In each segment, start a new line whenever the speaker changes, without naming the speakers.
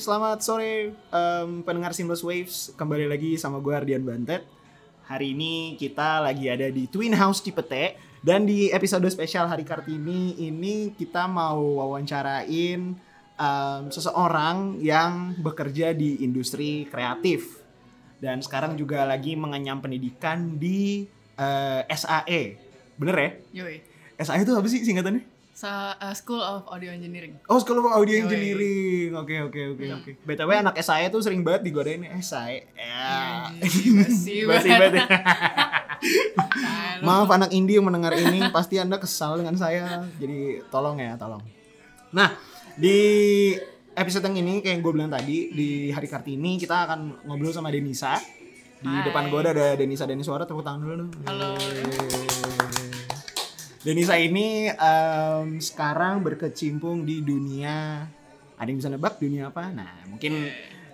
selamat sore em, pendengar Seamless Waves Kembali lagi sama gue Ardian Bantet Hari ini kita lagi ada di Twin House Cipete Dan di episode spesial Hari Kartini ini kita mau wawancarain em, seseorang yang bekerja di industri kreatif Dan sekarang juga lagi mengenyam pendidikan di eh, SAE Bener ya?
Yoi.
SAE itu apa sih singkatannya?
Sa uh, School of Audio Engineering.
Oh, sekolah audio
Yoi.
engineering. Oke, oke, oke,
Iya.
oke. BTW anak SAE tuh sering banget digodain SAE. Ya.
Iya, basi
Basi
banget.
banget. ya.
Nah, lu-
Maaf anak indie yang mendengar ini, pasti Anda kesal dengan saya. Jadi tolong ya, tolong. Nah, di episode yang ini kayak yang gue bilang tadi di hari Kartini kita akan ngobrol sama Denisa. Di
Hai.
depan gue ada Denisa Deniswara tepuk tangan dulu dong.
Halo.
Denisa ini em, sekarang berkecimpung di dunia ada yang bisa nebak dunia apa? Nah, mungkin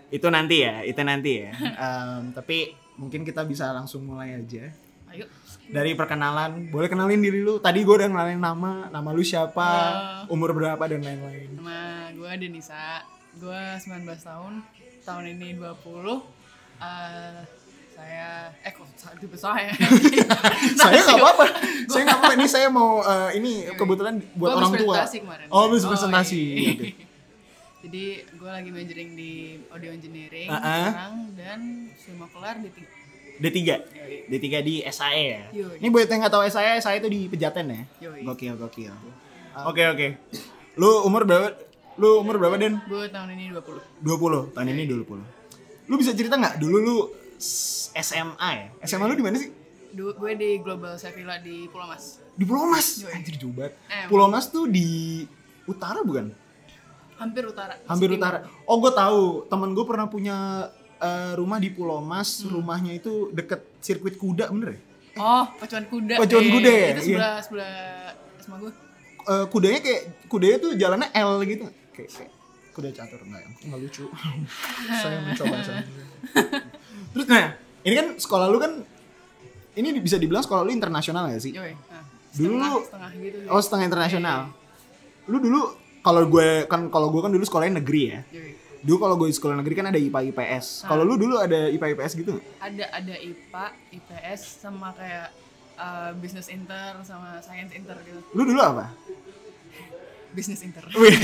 itu nanti ya, itu nanti ya. Em, tapi mungkin kita bisa langsung mulai aja
Ayo.
dari perkenalan. Boleh kenalin diri lu. Tadi gue udah kenalin nama, nama lu siapa,
Ah.
umur berapa dan
Nah,
lain-lain.
Nama gue Denisa. Gue 19 tahun. Tahun ini 20. Eh saya eh kok sa- tipe saya.
saya nggak apa-apa. saya nggak apa-apa. Ini saya mau eh, ini kebetulan buat
Gua
orang
habis
tua.
presentasi kemarin.
Oh, habis
iya.
presentasi. Oke.
Jadi gue lagi majoring di audio engineering
Ah-ah.
sekarang dan sudah mau kelar di ting-
D3.
Yoi.
D3 di SAE ya.
Yoi.
Ini buat yang nggak tahu E, SAE, SAE itu di Pejaten ya.
Yoi. Ah.
Gokil, gokil. Oke, oke. Lu umur berapa? Lu umur berapa, Den?
Gue tahun ini 20.
20. Tahun ini 20. Lu bisa cerita nggak dulu lu s- SMA ya? SMA lu di mana sih?
Du- gue di Global Sevilla di Pulau Mas. Eh,
Di Pulau Mas.
Yoi.
Anjir jauh banget.
Em.
Pulau Mas tuh di utara bukan?
Hampir utara.
Hampir
Timur.
utara. Oh, gue tahu. Temen gue pernah punya eh, rumah di Pulau Mas. Rumahnya itu deket sirkuit kuda, bener ya?
Oh, pacuan kuda.
Pacuan
Eh,
kuda ya?
Itu
Iya.
sebelah sebelah sama gue.
Eh, kudanya kayak kudanya tuh jalannya L gitu. Kayak, kayak kuda catur enggak ya? Enggak lucu. saya mencoba saya. Terus nah, ini kan sekolah lu kan ini di- bisa dibilang sekolah lu internasional gak sih?
Yoi. Nah,
Dulu-
setengah, setengah gitu. sih.
Oh, setengah internasional. Lu dulu kalau gue kan kalau gue kan dulu sekolahnya negeri ya.
Yoi.
Dulu kalau gue di sekolah negeri kan ada IPA IPS.
Ah.
Kalau lu dulu ada IPA IPS gitu? nggak?
Ada ada IPA, IPS sama kayak eh, business inter sama science inter gitu.
Lu dulu apa?
Business inter.
Wih.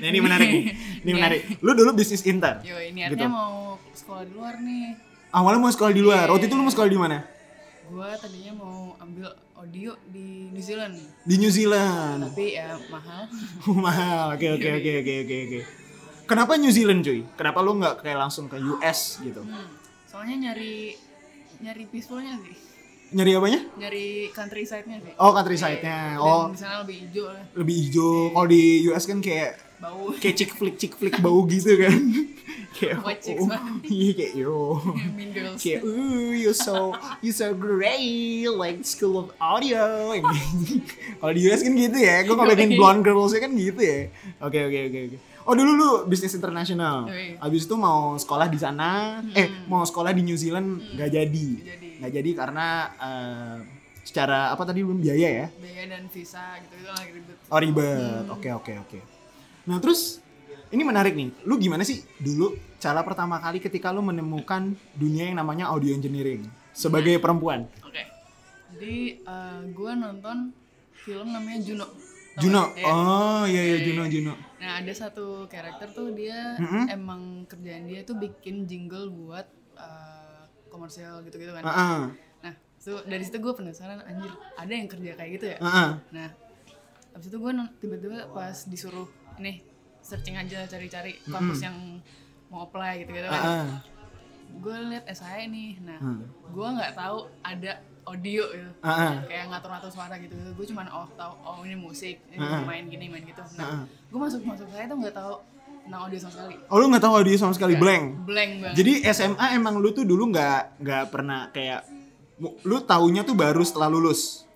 Nah, ini menarik nih. Ini
Iya.
menarik. Lu dulu bisnis inter.
Yoi,
Gitu.
niatnya mau sekolah di luar nih.
Awalnya mau sekolah di
Iya.
luar. Waktu itu lu mau sekolah di mana?
Gue tadinya mau ambil audio di New Zealand,
Di New Zealand.
tapi ya mahal.
mahal oke
Iya,
oke oke oke oke oke kenapa New Zealand cuy kenapa lu nggak kayak langsung ke US gitu
Hmm, soalnya nyari nyari peacefulnya sih,
nyari apanya
nyari countryside-nya sih.
oh countryside-nya
Dan
oh
di sana lebih hijau lah,
lebih hijau kalau di US kan kayak
bau.
kayak chick flick chick flick bau gitu kan kayak
White chicks
oh,
banget.
iya kayak yo
mean girls.
kayak ooh you so you so great like school of audio kalau di US kan gitu ya gue ngomongin blonde girls kan gitu ya oke oke oke oke oh dulu lu bisnis internasional
Yoi.
abis itu mau sekolah di sana eh mau sekolah di New Zealand nggak jadi
jadi.
nggak jadi karena eh, secara apa tadi belum biaya ya
Biaya dan visa gitu itu lagi ribet.
oh ribet oke oke oke nah terus ini menarik nih lu gimana sih dulu cara pertama kali ketika lu menemukan dunia yang namanya audio engineering sebagai perempuan
Oke. Jadi eh, gua nonton film namanya Juno. Tau
Juno
gak? Iya.
oh iya iya Juno Juno
Nah, ada satu karakter tuh dia
Mm-mm.
emang kerjaan dia tuh bikin jingle buat eh, komersial gitu-gitu kan.
Heeh.
Nah, so, dari situ gue penasaran anjir, ada yang kerja kayak gitu ya?
Heeh.
Nah, habis itu gue tiba-tiba pas disuruh nih searching aja cari-cari kampus yang mau apply gitu-gitu kan.
Heeh.
gue liat SI nih nah
Hmm. Ah.
gue nggak tahu ada audio gitu
Heeh.
kayak ngatur-ngatur suara gitu gue cuman oh tahu oh ini musik ini
Ah.
main gini main gitu
Ah.
nah gue masuk masuk saya tuh nggak tahu tentang audio sama sekali
oh lu nggak tahu audio sama sekali blank
blank banget
Jadi SMA emang lu tuh dulu nggak nggak pernah kayak mu- lu taunya tuh baru setelah lulus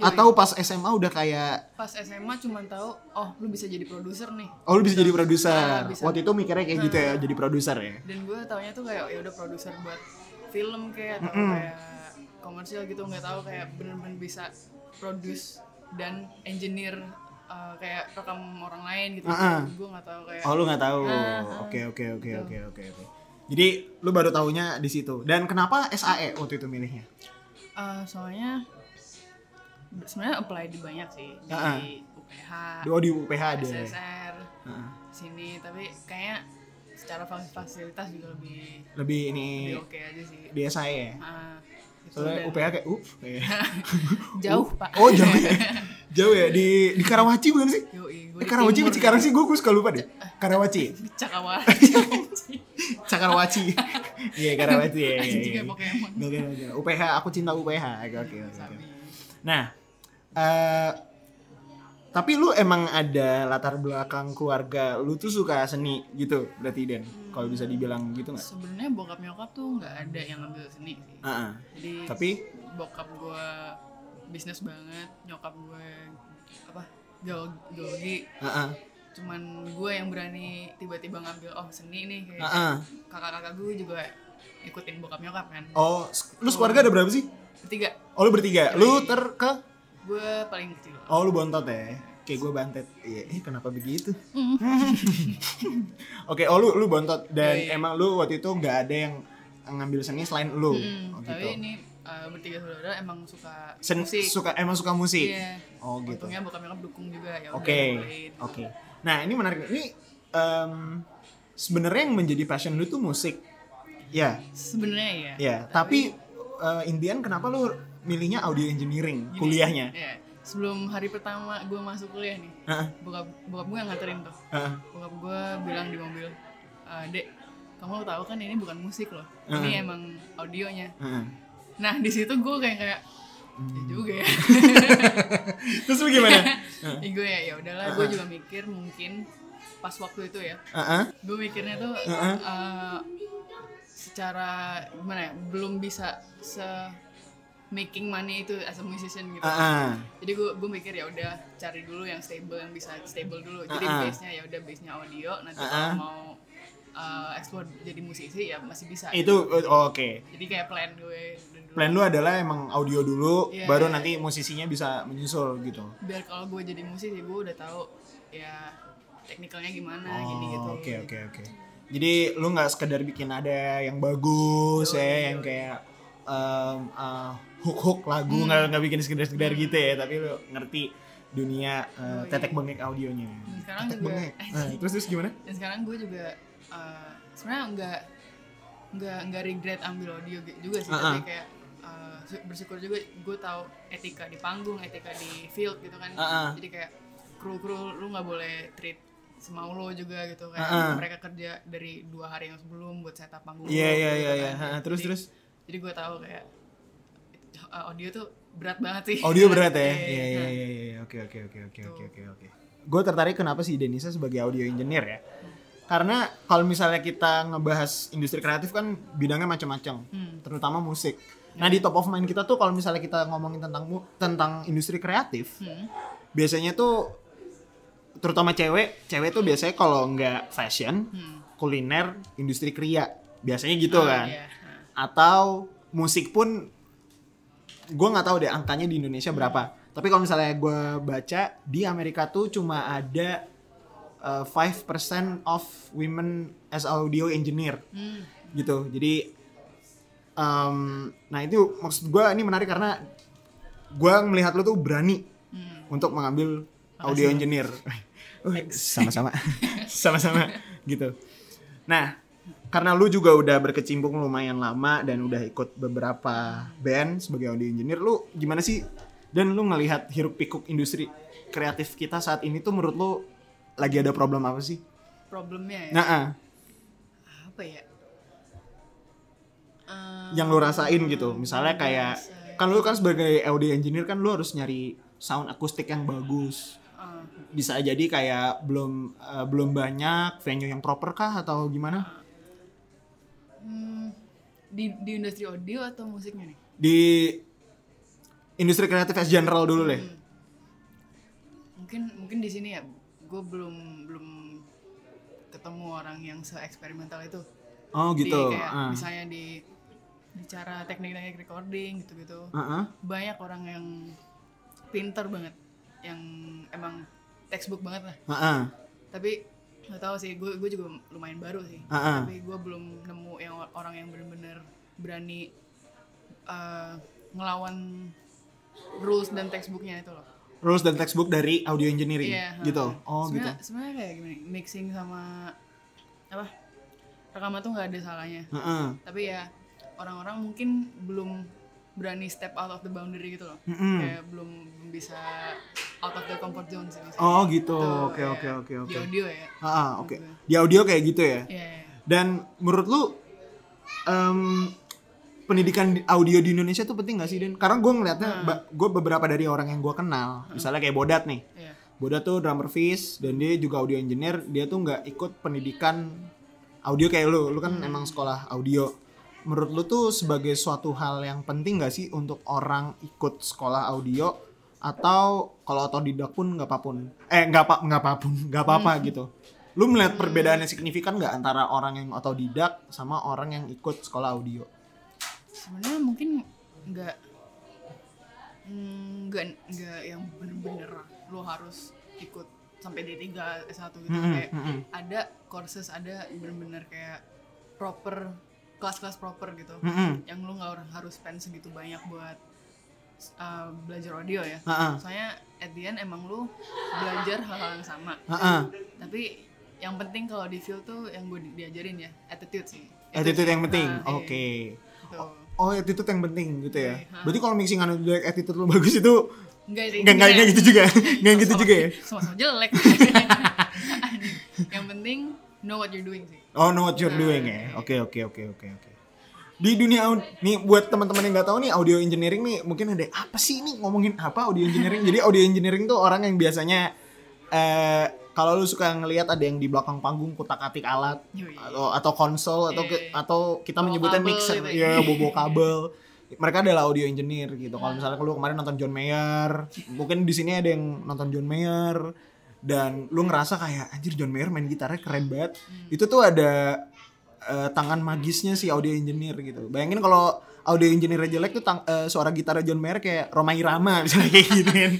atau pas SMA udah kayak
pas SMA cuman tahu oh lu bisa jadi produser nih
oh lu bisa jadi produser
Ah, bisa.
waktu itu mikirnya kayak gitu ya jadi produser ya
dan gue taunya tuh kayak ya udah produser buat film kayak atau kayak komersial gitu nggak tahu kayak bener-bener bisa produce dan engineer eh, kayak rekam orang lain gitu.
Ah, ah.
Gue nggak tahu kayak.
Oh lu nggak tahu.
Ah, ah.
Oke oke oke
Gitu.
oke oke oke. Jadi lu baru tahunya di situ. Dan kenapa SAE waktu itu milihnya?
Eh, soalnya sebenarnya apply di banyak sih di
Ah, ah.
UPH,
Oh di UPH ada. ya?
SSR,
Heeh.
sini tapi kayak secara fas- fasilitas juga lebih
Lebih ini
lebih oke aja sih.
di SAE ya.
Ah, gitu.
Soalnya
Dan
UPH kayak up. kayak-
jauh pak.
Oh jauh ya. Jauh ya di di Karawaci bukan sih?
Yoi, gua
Eh,
di
Karawaci
timur.
apa Cikarang sih? Iya, Gue gue suka lupa deh. Karawaci.
Cakawaci.
Cakarawaci. Iya Karawaci ya. iya,
Anjing
iya.
kayak Pokemon.
Oke, oke. UPH, aku cinta UPH. Oke, oke, oke.
Sabi.
Nah, eh tapi lu emang ada latar belakang keluarga, lu tuh suka seni gitu, berarti Den? Kalau bisa dibilang gitu nggak?
Sebenarnya bokap nyokap tuh nggak ada yang ngambil seni sih.
Heeh.
Jadi
Ah, Tapi
bokap gue bisnis banget, nyokap gue apa geol- geologi.
heeh,
Cuman gue yang berani tiba-tiba ngambil oh seni nih kayak
heeh.
kakak-kakak gue juga ikutin bokap nyokap kan.
Oh, s- lu keluarga ada berapa sih?
Ketiga
Oh, lu bertiga. Lu ter ke
gue paling kecil.
Oh, lu bontot ya. Kayak gue bantet. Iya, eh, kenapa begitu?
Mm.
Oke, oh lu lu bontot dan
Iya, iya.
emang lu waktu itu nggak ada yang ngambil seni selain lu.
Mm,
Oh,
Tapi
gitu.
ini eh, bertiga saudara emang suka
Sen-
musik.
suka emang suka musik.
Iya.
Oh, gitu.
Untungnya bokap nyokap dukung juga ya. udah,
Oke,
dibolehin.
oke. Nah ini menarik. Ini em, sebenarnya yang menjadi passion lu tuh musik, ya,
Sebenarnya ya.
ya. Tapi eh, in the end kenapa lu milihnya audio engineering
Gini,
kuliahnya?
Iya. Sebelum hari pertama gue masuk kuliah nih,
Heeh,
bokap bokap gue yang nganterin tuh.
heeh.
Bokap gue bilang di mobil, "Eh, dek, kamu tahu kan ini bukan musik loh,
Heeh.
ini emang audionya.
heeh.
Nah di situ gue kayak kayak,
Hmm.
ya juga ya.
Terus lu gimana? Heeh,
gue ya ya udahlah, gue juga mikir mungkin pas waktu itu ya,
heeh.
gue mikirnya tuh
Heeh.
eh, secara gimana ya, belum bisa se making money itu as a musician gitu.
heeh.
jadi gue gue mikir ya udah cari dulu yang stable yang bisa stable dulu jadi
Ah, ah.
base nya ya udah base nya audio nanti
Ah,
kalau
ah.
mau uh, explore jadi musisi ya masih bisa
Itu eh, oke.
jadi kayak plan gue dari dulu
Plan lu adalah emang audio dulu,
Iya.
baru nanti musisinya bisa menyusul gitu.
biar kalau gue jadi musisi gue udah tahu ya teknikalnya gimana gini
Oh,
gitu
Oke oke oke. Jadi lu nggak sekedar bikin ada yang bagus
Yoi,
ya,
yoi.
yang kayak em, ah, hook-hook lagu
Hmm.
nggak nggak bikin sekedar-sekedar gitu ya, tapi lu ngerti dunia eh,
Yoi.
tetek bengek audionya.
Oh, iya. sekarang
tetek
juga-
bengek. Nah, terus terus gimana?
dan sekarang gue juga uh, sebenarnya nggak nggak nggak regret ambil audio gi- juga sih
Ah,
tapi kayak uh, su- bersyukur juga gue tahu etika di panggung etika di field gitu kan
Ah, ah.
jadi kayak kru kru lu nggak boleh treat semau lo juga gitu kayak
Ah, ah.
mereka kerja dari dua hari yang sebelum buat setup panggung
Iya
lu,
iya
gitu
iya
kan.
iya. Ha, Terus
Jadi-
terus
jadi gue tahu kayak uh, audio tuh berat banget sih
audio berat ya.
Iya,
Iya
iya.
iya iya iya. Oke oke oke oke oke oke oke. Gue tertarik kenapa sih Denisa sebagai audio engineer ya? Karena kalau misalnya kita ngebahas industri kreatif kan bidangnya macam-macam.
Hmm. Iya.
terutama musik. Nah di top of mind kita tuh kalau misalnya kita ngomongin tentang mu- tentang industri kreatif,
Hmm.
biasanya tuh terutama cewek, cewek tuh biasanya kalau nggak fashion,
Hmm.
kuliner, industri kria, biasanya gitu
Ah,
kan.
iya. Ah.
Atau musik pun, gue nggak tahu deh angkanya di Indonesia berapa. Tapi kalau misalnya gue baca di Amerika tuh cuma ada uh, 5% of women as audio engineer
Hmm.
gitu jadi em, nah itu maksud gua ini menarik karena gua melihat lu tuh berani
Hmm.
untuk mengambil audio engineer Uh, sama-sama sama-sama gitu nah karena lu juga udah berkecimpung lumayan lama dan udah ikut beberapa band sebagai audio engineer lu gimana sih dan lu ngelihat hiruk pikuk industri kreatif kita saat ini tuh menurut lu lagi ada problem apa sih?
problemnya ya
Nah, ah,
apa ya Eh,
yang lo rasain gitu misalnya
yang
kayak
rasain.
kan lo kan sebagai audio engineer kan lo harus nyari sound akustik yang bagus
eh,
bisa jadi kayak belum eh, belum banyak venue yang proper kah atau gimana
hmm, di di industri audio atau musiknya nih
di industri kreatif as general dulu deh
Hmm. mungkin mungkin di sini ya gue belum belum ketemu orang yang se eksperimental itu
oh
Di
gitu
Hmm. kayak
Ah.
misalnya di bicara teknik-teknik recording gitu-gitu
Ah, ah.
banyak orang yang pinter banget yang emang textbook banget lah
Heeh.
tapi nggak tahu sih gue gue juga lumayan baru sih
Ah, ah.
tapi gue belum nemu yang or- orang yang benar-benar berani eh, ngelawan rules dan textbooknya itu loh
Rules dan textbook dari audio engineering
Iya,
gitu.
heeh.
Oh, gitu.
Sebenarnya- sebenarnya kayak gini mixing sama apa rekaman tuh nggak ada salahnya
Heeh.
tapi ya orang-orang mungkin belum berani step out of the boundary gitu loh
Mm-mm.
kayak belum belum bisa out of the comfort zone sih misalnya.
Oh, gitu.
Gitu,
Oke,
ya.
oke, oke,
Di
oke.
audio ya
Heeh, oke. Di audio kayak gitu ya.
ya
Dan menurut lu em, pendidikan di- audio di Indonesia tuh penting gak sih, Den? Karena gue ngelihatnya gue beberapa dari orang yang gue kenal, misalnya kayak Bodat nih.
ya
Bodat tuh drummer Fish dan dia juga audio engineer, dia tuh nggak ikut pendidikan audio kayak lu. Lu
Hmm.
kan emang sekolah audio. Menurut lu tuh sebagai suatu hal yang penting gak sih untuk orang ikut sekolah audio atau kalau otodidak pun nggak apapun eh nggak apa nggak apapun nggak apa-apa
Hmm.
gitu lu melihat perbedaannya signifikan nggak antara orang yang otodidak sama orang yang ikut sekolah audio
sebenarnya mungkin nggak mm, nggak nggak yang bener-bener lo harus ikut sampai D3 S1 gitu
Mm-mm,
kayak
mm-mm.
ada courses ada bener-bener kayak proper kelas-kelas proper gitu
Mm-mm.
yang lu nggak har- harus spend segitu banyak buat uh, belajar audio ya
Ha-ha.
soalnya at the end emang lu belajar hal-hal yang sama
Ha-ha.
tapi yang penting kalau di field tuh yang gue diajarin ya attitude sih Itu
attitude
sih.
yang penting
Nah,
oke
iya, gitu.
Oh, attitude yang penting gitu ya.
Iya, ha.
Berarti kalau mixing anu jelek attitude lu bagus itu
Enggak sih.
enggak enggak gitu juga. Enggak gitu juga ya.
Sama-sama jelek. yang penting know what you're doing sih.
Oh, know what you're
Nah,
doing ya. Oke, oke, oke, oke, oke. Di dunia au- nih buat teman-teman yang nggak tahu nih audio engineering nih mungkin ada apa sih ini ngomongin apa audio engineering. Jadi audio engineering tuh orang yang biasanya eh kalau lu suka ngelihat ada yang di belakang panggung kutak-atik alat
Yoi.
atau atau konsol atau ke-
Iya, iya.
atau kita
Bawa
menyebutnya
kabel
mixer
gitu
ya
ya.
bobo kabel mereka adalah audio engineer gitu kalau misalnya lu kemarin nonton John Mayer mungkin di sini ada yang nonton John Mayer dan lu ngerasa kayak anjir John Mayer main gitarnya keren banget itu tuh ada eh, tangan magisnya si audio engineer gitu bayangin kalau audio engineer jelek tuh tang- eh, suara gitarnya John Mayer kayak Roma Irama misalnya kayak gitu kan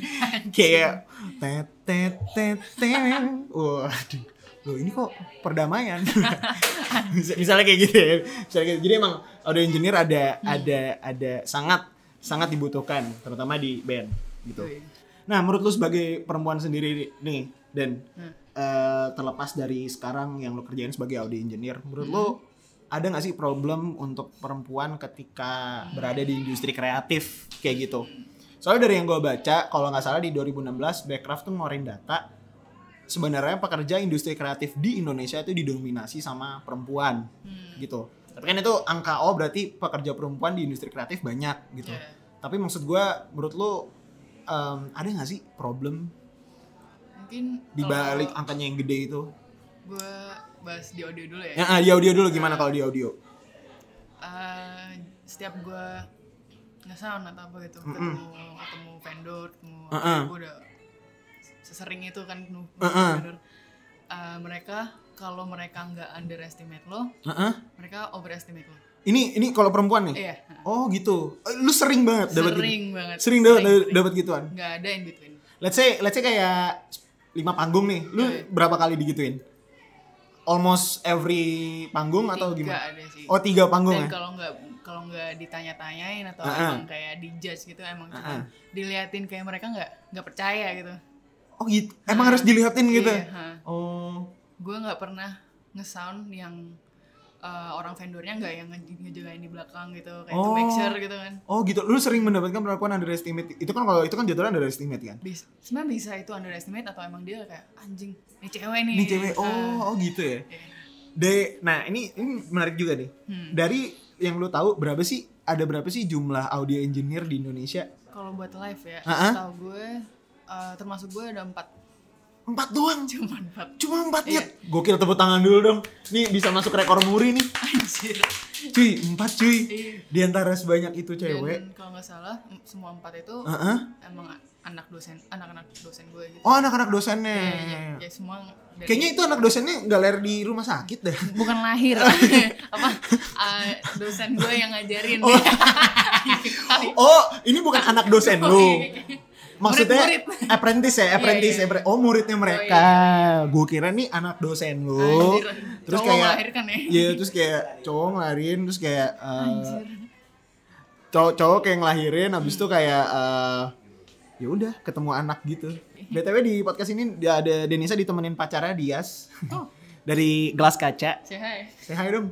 kayak tet tet tet tet waduh loh ini kok perdamaian Mis- misalnya kayak gitu ya misalnya kayak gitu. jadi emang audio engineer ada ada ada sangat sangat dibutuhkan terutama di band gitu
Yoi.
nah menurut lu sebagai perempuan sendiri nih dan
Hmm.
eh, terlepas dari sekarang yang lu kerjain sebagai audio engineer menurut lu
Hmm.
ada nggak sih problem untuk perempuan ketika berada di industri kreatif kayak gitu soalnya dari yang gue baca kalau nggak salah di 2016 Backcraft tuh ngeluarin data sebenarnya pekerja industri kreatif di Indonesia itu didominasi sama perempuan
Hmm.
gitu tapi kan itu angka oh berarti pekerja perempuan di industri kreatif banyak gitu
Iya.
tapi maksud gua menurut lu em, ada nggak sih problem
Mungkin
di balik angkanya yang gede itu
gue bahas di audio dulu ya.
ya ah, di audio dulu gimana kalau di audio
Eh, setiap gue ngesound atau apa gitu,
Mm-mm.
ketemu ketemu vendor, ketemu
Mm-mm.
gue udah sesering itu kan ketemu
Mm-mm.
vendor. Eh, mereka kalau mereka nggak underestimate lo,
Heeh.
mereka overestimate lo.
ini ini kalau perempuan nih
Iya.
oh gitu Eh, lu sering banget dapat gitu.
Sering banget.
sering dapat
Sering, sering.
dapat gituan
nggak ada in between
let's say let's say kayak lima panggung nih lu
Iya.
berapa kali digituin almost every panggung atau
Tiga
gimana
ada sih
oh tiga panggung
dan
ya
kalau nggak kalau nggak ditanya-tanyain atau
Ah, ah.
emang kayak di judge gitu emang cuma
Ah, ah.
diliatin kayak mereka nggak nggak percaya gitu
oh gitu emang harus dilihatin gitu
Iya, ha.
oh
gue nggak pernah ngesound yang eh, orang vendornya nggak yang nge- ngejagain di belakang gitu kayak to make
Oh.
sure gitu kan
Oh gitu, lu sering mendapatkan perlakuan underestimate. Itu kan kalau itu kan jatuhnya underestimate kan.
bisa sebenarnya bisa itu underestimate atau emang dia kayak anjing ini cewek nih
Ini cewek,
Ah,
oh, oh gitu ya.
iya.
De, nah ini ini menarik juga nih.
Hmm.
Dari yang lu tahu berapa sih ada berapa sih jumlah audio engineer di Indonesia?
kalau buat live ya
Ah, ah.
tahu gue eh, termasuk gue ada empat
Empat doang,
cuma empat
cuma empat ya.
Iya.
Gokil tepuk tangan dulu dong. Nih bisa masuk rekor muri nih.
anjir
Cuy, empat cuy.
Iya.
Di antara sebanyak itu cewek.
Dan kalau nggak salah em- semua empat itu
Heeh.
emang a- anak dosen, anak-anak dosen gue gitu.
Oh anak-anak dosennya.
Ya, ya, ya, semua dari-
Kayaknya itu anak dosennya nggak lahir di rumah sakit dah.
bukan lahir apa eh, dosen gue yang ngajarin.
Oh. Oh, ini bukan anak dosen lu. Maksudnya
Murid-murid.
apprentice ya, apprentice
iya, iya.
ya. Oh, muridnya mereka. Gue kira nih anak dosen lu.
Anjir,
Terus
Ah, iya, cowok
kayak
melahirkan ya.
Iya, terus kayak cowok ngelahirin, terus kayak eh,
Anjir. Hmm.
cowok cowok kayak ngelahirin habis itu kayak eh, ya udah ketemu anak gitu.
Iya.
BTW di podcast ini dia ada Denisa ditemenin pacarnya Dias
Oh,
dari gelas kaca.
say hi.
Say hi dong.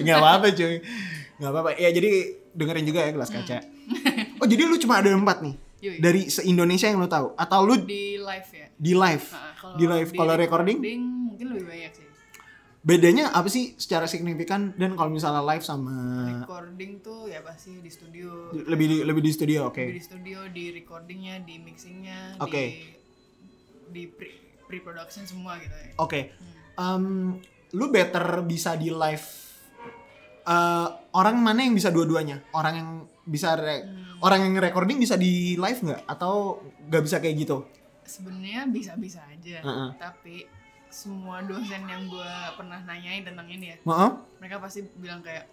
Enggak apa-apa, cuy. Enggak apa-apa. Ya jadi dengerin juga ya gelas kaca. Oh, jadi lu cuma ada empat nih.
Yui.
Dari se-Indonesia yang lu tahu atau lu
Di live ya.
di live?
Nah,
Di live Ah, kalau recording
mungkin lebih banyak sih.
bedanya apa sih secara signifikan dan kalau misalnya live sama
Recording tuh ya pasti di studio.
lebih lebih Nah. di studio, oke.
Di studio, di recordingnya, di mixingnya,
Oke.
di di pre pre production semua gitu ya.
Oke. Em, lu better bisa di live. Eh, orang mana yang bisa dua-duanya? Orang yang bisa re-
Hmm.
orang yang recording bisa di live nggak? Atau nggak bisa kayak gitu?
Sebenarnya bisa-bisa aja,
Heeh.
tapi semua dosen yang gue pernah nanyain tentang ini ya,
Maaf?
mereka pasti bilang kayak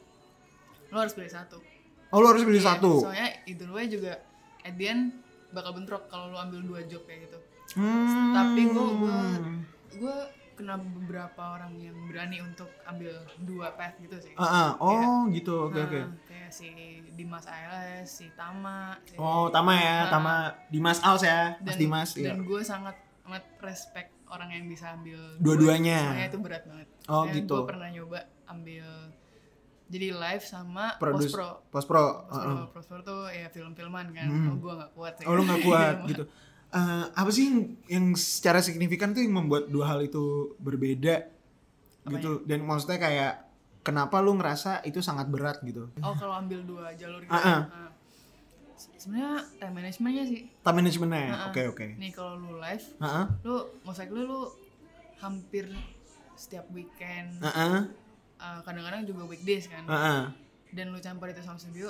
lo harus pilih satu.
Oh, lu harus pilih
Iya,
satu.
Soalnya either way juga at the end bakal bentrok kalau lo ambil dua job kayak gitu.
Hmm.
Tapi gua- gua- Gue kenal beberapa orang yang berani untuk ambil dua path gitu sih.
Ah, ah. Oh, gitu. Oke, oke.
Nah, Kayak si Dimas ALS, si Tama. si-
Oh, Tama ya,
Nah,
Tama Dimas Als ya, Mas Dimas. iya.
Dan gue sangat amat respect orang yang bisa ambil
Dua-duanya.
Soalnya itu berat banget.
Oh, gitu.
Gue pernah nyoba ambil jadi live sama
Produce-
post pro.
Post Pro.
Post
ah,
pro,
ah.
post pro tuh ya film-filman kan.
Hmm.
Oh, gue gak kuat. ya.
Oh lu nggak kuat gitu. Eh, apa sih yang, yang secara signifikan tuh yang membuat dua hal itu berbeda gitu?
ya?
Dan maksudnya kayak kenapa lu ngerasa itu sangat berat gitu?
oh kalau ambil dua jalur gitu.
Ah, ah.
ah. Se- Sebenarnya time managementnya sih.
Time managementnya, ya?
Ah,
Eh,
ah.
oke oke.
Nih kalau lu live,
Heeh,
lu musik lu lu hampir setiap weekend
heeh,
Uh, kadang-kadang juga weekdays kan
heeh.
dan lu campur itu sama studio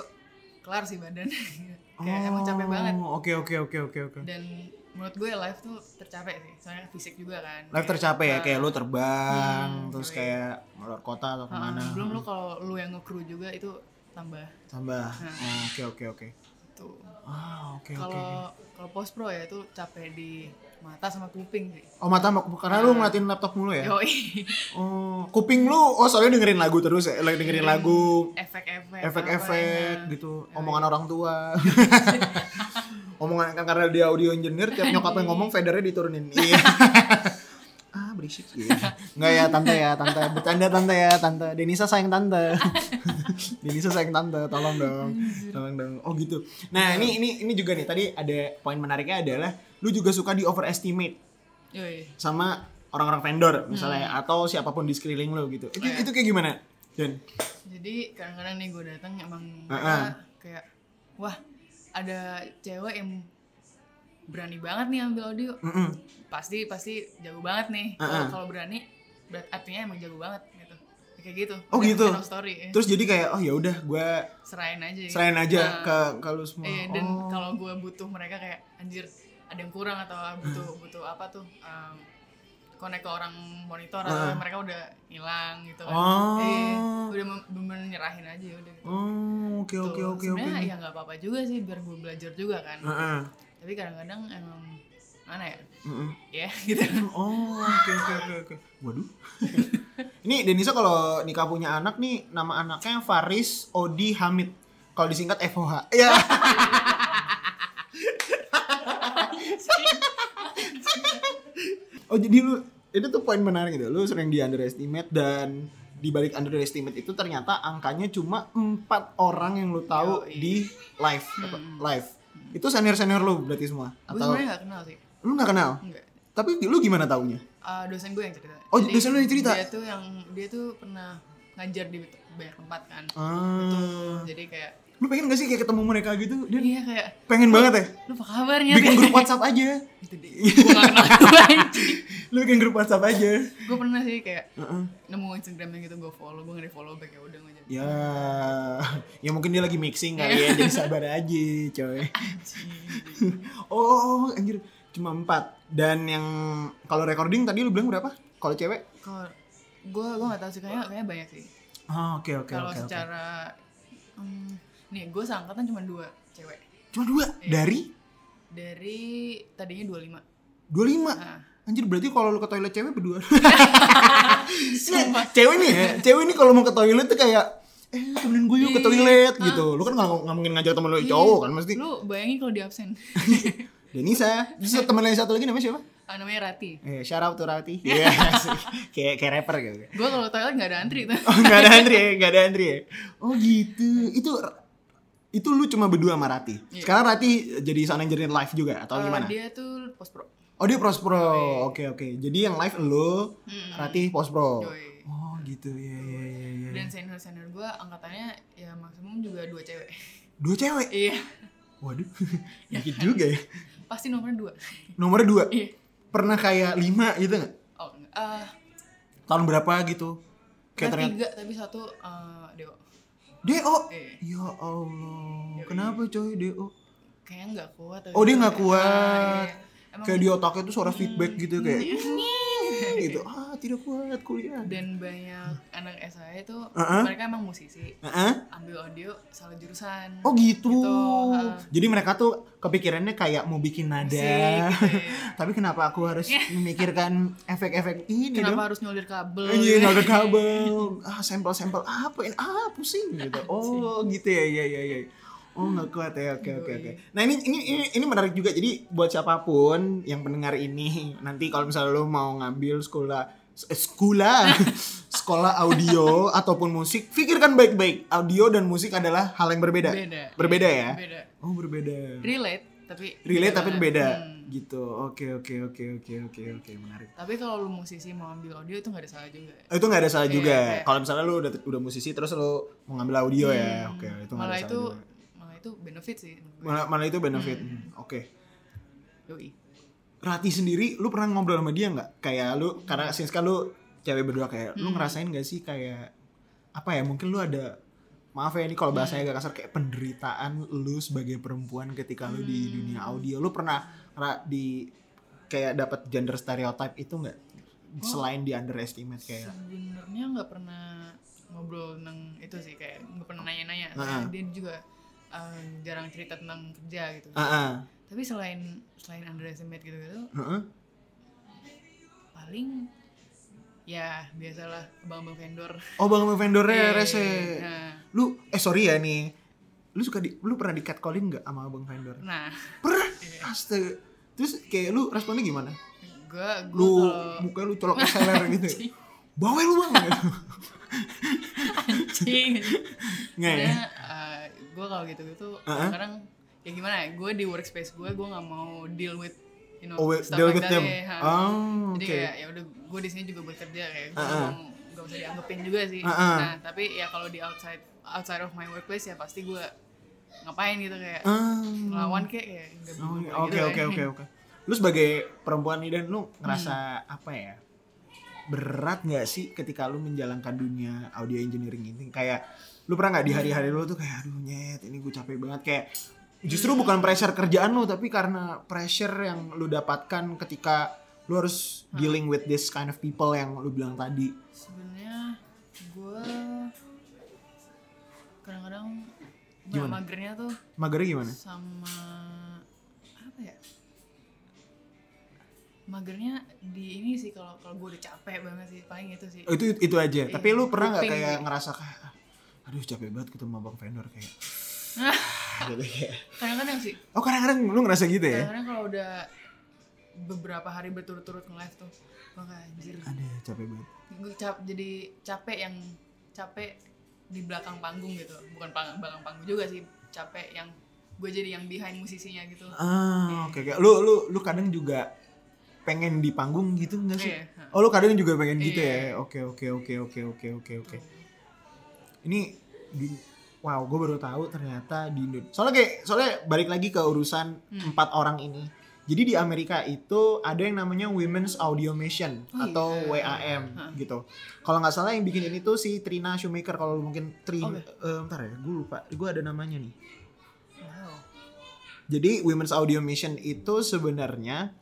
kelar sih badan kayak emang capek banget
Oh, Oke oke oke oke oke.
dan menurut gue live tuh tercapek sih soalnya fisik juga kan
Live
Kayak,
tercapai ya, kayak lu terbang,
Hmm,
terus
sorry.
kayak luar kota atau
uh, uh,
kemana?
belum lu kalau lu yang nge-crew juga itu tambah
Tambah. Oh, Oke oke oke.
tuh
Ah oke oke.
kalau kalau post pro ya itu capek di mata sama kuping sih
Oh mata karena lu ngeliatin laptop mulu ya?
yoi
Oh, kuping lu oh soalnya dengerin lagu terus ya, like dengerin lagu
efek-efek
efek-efek
Iya. apa-apa, ya.
gitu, omongan orang tua. omongan kan karena dia audio engineer tiap nyokapnya ngomong fadernya diturunin. Iya. ah, berisik ya. Enggak ya, tante ya, tante. Bercanda tante ya, tante. Denisa sayang tante. Denisa sayang tante, tolong dong. Tolong dong. Oh, gitu. Nah, ini ini ini juga nih tadi ada poin menariknya adalah lu juga suka di overestimate
enak. yoi
sama orang-orang vendor misalnya atau siapapun di sekeliling lo gitu. Itu,
Hmm. Iya.
itu kayak gimana? Dan
jadi kadang-kadang nih gue datang emang
Ah,
mereka
ah.
kayak wah ada cewek yang berani banget nih ambil audio
mm-mm.
pasti pasti jago banget nih
Mm. Ah,
Kalau-
ah.
kalau berani berarti artinya emang jago banget gitu kayak gitu
Oh,
Kayak
gitu.
kind of story ya.
terus jadi kayak oh ya udah gue
serain aja ya.
serain aja
Nah,
ke ke lu semua.
iya, dan
Oh.
kalau gue butuh mereka kayak anjir ada yang kurang atau butuh butuh apa tuh um, connect ke orang monitor
Ah.
atau mereka udah hilang gitu kan
Oh.
Iya, udah mem- bener nyerahin aja udah gitu.
Oh, oke oke
Tuh,
oke Ah. oke.
sebenarnya ya nggak apa-apa juga sih biar gue belajar juga kan
Heeh.
tapi kadang-kadang emang mana ya
Mm-mm.
ya gitu
Oh, oke oke oke oke. Waduh. Ini Denisa kalau nikah punya anak nih nama anaknya Faris Odi Hamid. Kalau disingkat FOH. Ya. oh, jadi lu itu tuh poin menarik gitu. Lu sering di underestimate dan di balik underestimate itu ternyata angkanya cuma empat orang yang lu tahu
Yoi.
di live apa, live. Itu senior-senior lu berarti semua
gue
atau
sebenarnya nggak kenal sih
lu nggak kenal?
enggak
Tapi lu gimana taunya?
Eh, dosen gue yang cerita
Oh, dosen lu yang cerita?
dia tuh yang dia tuh pernah ngajar di banyak tempat kan
Ah.
jadi kayak
Lu pengen gak sih kayak ketemu mereka gitu? Dan
iya kayak
pengen banget ya?
lu apa kabarnya
Bikin grup WhatsApp aja.
gitu deh gue nggak kenal gue anjing
Lu bikin grup WhatsApp aja.
gue pernah sih kayak
Heeh.
nemu instagramnya gitu gue follow gue nge follow back ya udah gue jadi
Ya, ya mungkin dia lagi mixing kali
Iya.
ya, jadi sabar aja, coy. Oh, anjir, cuma empat. Dan yang kalau recording tadi lu bilang berapa? Kalau cewek?
kalau gue gue nggak tahu sih kayaknya kayaknya banyak sih
Oh, oke oke
kalau
oke. oke.
secara Hmm, nih gue seangkatan cuma dua cewek
Cuma dua
Iya.
dari
dari tadinya 25
25.
nah
Anjir berarti kalau lu ke toilet cewek berdua.
Sumpah.
cewek nih ya, cewek nih kalau mau ke toilet tuh kayak eh temenin gue yuk ke
Iya,
toilet
iya.
gitu. Lu kan nggak nggak mungkin ngajak temen lu
Iya.
cowok kan mesti.
lu bayangin kalau di absen
Denisa,
Iya.
terus temennya yang satu lagi namanya siapa?
Ah, namanya Rati
Eh, shout out to Rati. Iya, sih. kayak kayak rapper gitu.
gue kalau toilet nggak ada antri tuh
Oh, nggak ada Andri ya, nggak ada Andri ya. Oh gitu, itu itu lu cuma berdua sama Rati.
Iya.
Sekarang Rati jadi sound engineer live juga atau
Eh,
gimana?
dia tuh post pro
Oh dia post pro,
Yoi.
oke oke. Jadi yang live lu,
Hmm.
Rati post pro.
Yoi.
Oh gitu, ya ya ya ya.
dan senior senior gue angkatannya ya maksimum juga dua cewek
Dua cewek,
iya
waduh, dikit
kan?
juga ya.
pasti nomornya dua
Nomornya dua,
iya
pernah kayak lima gitu nggak?
oh enggak. Ah,
Tahun berapa gitu? Kayak
ada
ternyata
tiga tapi satu eh, Dewo
DO.
Iya.
Ya Allah,
Yoi.
kenapa coy DO?
kayaknya nggak kuat
Oh, dia nggak
Ah,
kuat.
iya. Hmm. Emang
Kayak di otaknya tuh suara feedback gitu kayak gitu. Ah, tidak kuat kuliah.
dan banyak anak SI itu
Uh-uh.
mereka emang musisi
Heeh.
ambil audio salah jurusan
Oh gitu.
Gitu, ha.
Jadi mereka tuh kepikirannya kayak mau bikin nada.
Musik, gitu ya.
Tapi kenapa aku harus memikirkan efek-efek ini
kenapa
dong?
harus nyolir kabel
Anjir, nggak ada Iya, kabel. Ah, sampel-sampel apa? ya? Ah, pusing gitu. Oh, gitu ya, ya, ya, ya. Oh, nggak kuat ya. Oke, oke, oke. Nah, ini, ini ini ini menarik juga. Jadi buat siapapun yang pendengar ini, nanti kalau misalnya lo mau ngambil sekolah eh, sekolah sekolah audio ataupun musik, pikirkan baik-baik. Audio dan musik adalah hal yang berbeda.
Beda.
Berbeda ya?
beda
Oh, berbeda.
relate tapi
Relate tapi
banget.
beda.
Hmm.
Gitu. Oke, oke, oke, oke, oke, oke. Menarik.
tapi kalau lu musisi mau ambil audio itu nggak ada salah juga
Oh, itu nggak ada salah
Iya,
juga.
kayak-
Kalau misalnya lu udah udah musisi terus lu mau ngambil audio ya,
Hmm.
oke itu nggak ada
malah
salah
itu
juga.
malah itu benefit sih menurut gue.
Malah, malah itu benefit. Hmm, Oke.
Yoi.
Rati sendiri, lu pernah ngobrol sama dia nggak? Kayak lu karena since kan lu cewek berdua kayak,
Hmm.
lu ngerasain gak sih kayak apa ya? Mungkin lu ada maaf ya ini kalau
Hmm.
bahasanya agak kasar kayak penderitaan lu sebagai perempuan ketika lu
Hmm.
di dunia audio. Lu pernah ra- di kayak dapat gender stereotype itu nggak?
Oh.
Selain di underestimate kayak.
sebenarnya nggak pernah ngobrol tentang itu sih kayak nggak pernah nanya-nanya Nah,
Ah.
dia juga eh, jarang cerita tentang kerja gitu
Ah, ah.
tapi selain selain underestimate gitu-gitu
Heeh.
paling ya biasalah abang-abang vendor
Oh bang vendornya
Eh,
rese.
nah,
Lu eh sorry ya nih. Lu suka di lu pernah di catcalling nggak sama bang vendor?
nah
Pernah.
Iya.
Astaga. Terus kayak lu responnya gimana?
gue gue
Lu
kalau
mukanya lu colok ke seler gitu. Bawel lu bang.
anjing
Nggak
Iya.
ya?
gue eh, kalau gitu-gitu
Uh-uh.
kadang ya gimana ya gue di workspace gue gue nggak mau deal with you know
Oh, wait,
stuff
deal
like
with
that
them.
ya, ha.
Oh,
jadi
oke.
kayak ya udah gue di sini juga bekerja kayak gue
Uh-uh.
nggak usah dianggepin juga sih
Uh-uh.
nah tapi ya kalau di outside outside of my workplace ya pasti gue ngapain gitu kayak
Ah.
ngelawan kayak kayak nggak
Oh,
butuh kayak
Oke
gitu
oke
ya.
oke oke. Lu sebagai perempuan nih dan lu ngerasa
Hmm.
apa ya? Berat nggak sih ketika lu menjalankan dunia audio engineering ini? Kayak lu pernah nggak
Hmm.
di hari-hari lu tuh kayak aduh nyet ini gue capek banget kayak justru bukan pressure kerjaan lu tapi karena pressure yang lu dapatkan ketika lu harus
Hmm.
dealing with this kind of people yang lu bilang tadi.
sebenarnya gue kadang-kadang
Gimana?
magernya tuh
Magernya gimana?
sama apa ya magernya di ini sih kalau kalau gue udah capek banget sih paling itu sih
Oh, itu itu aja.
Iya,
Tapi lu pernah nggak
kuping
kayak
sih.
ngerasa kayak "Ah, aduh capek banget ketemu sama bang vendor kayak gitu kayak
kadang-kadang sih
Oh kadang-kadang lu ngerasa gitu ya?
kadang-kadang kalau udah beberapa hari berturut-turut nge live tuh gue kayak anjir
Ada capek banget.
gue cap jadi capek yang capek di belakang panggung gitu bukan pang- belakang panggung juga sih capek yang gue jadi yang behind musisinya gitu
Ah, oke oke. Lu lu lu kadang juga pengen di panggung gitu enggak sih?
Iya, ha.
Oh, lu kadang juga pengen gitu
Iya.
ya. Oke oke oke oke oke oke oke. Ini di wow, gue baru tahu ternyata di Indonesia. Soalnya kayak soalnya balik lagi ke urusan
Hmm.
empat orang ini. Jadi di Amerika itu ada yang namanya Women's Audio Mission
Oh, iya.
atau WAM
Hah.
gitu. Kalau nggak salah yang bikin ini tuh si Trina Shoemaker kalau lu mungkin
Oh, iya.
Trina, eh, bentar ya, gue lupa, gue ada namanya nih.
wow
Jadi Women's Audio Mission itu sebenarnya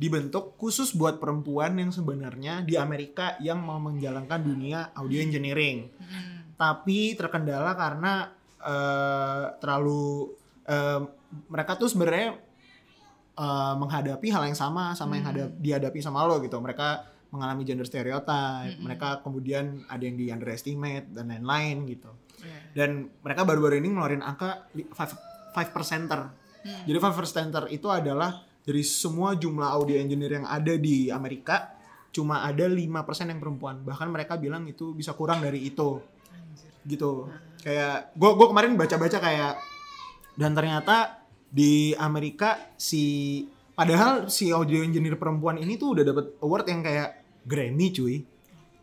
dibentuk khusus buat perempuan yang sebenarnya di Amerika yang mau menjalankan dunia audio engineering.
Mm.
Tapi terkendala karena eh, terlalu eh, mereka tuh sebenarnya eh, menghadapi hal yang sama sama yang hadap, dihadapi sama lo gitu. Mereka mengalami gender stereotype,
Mm-mm.
mereka kemudian ada yang di underestimate dan lain-lain gitu.
Iya.
Dan mereka baru-baru ini ngeluarin angka 5 5 percenter.
Hmm.
Jadi 5 percenter itu adalah dari semua jumlah audio engineer yang ada di Amerika cuma ada 5% yang perempuan. Bahkan mereka bilang itu bisa kurang dari itu
Anjir.
gitu kayak gue gue kemarin baca-baca kayak dan ternyata di Amerika si padahal si audio engineer perempuan ini tuh udah dapet award yang kayak Grammy cuy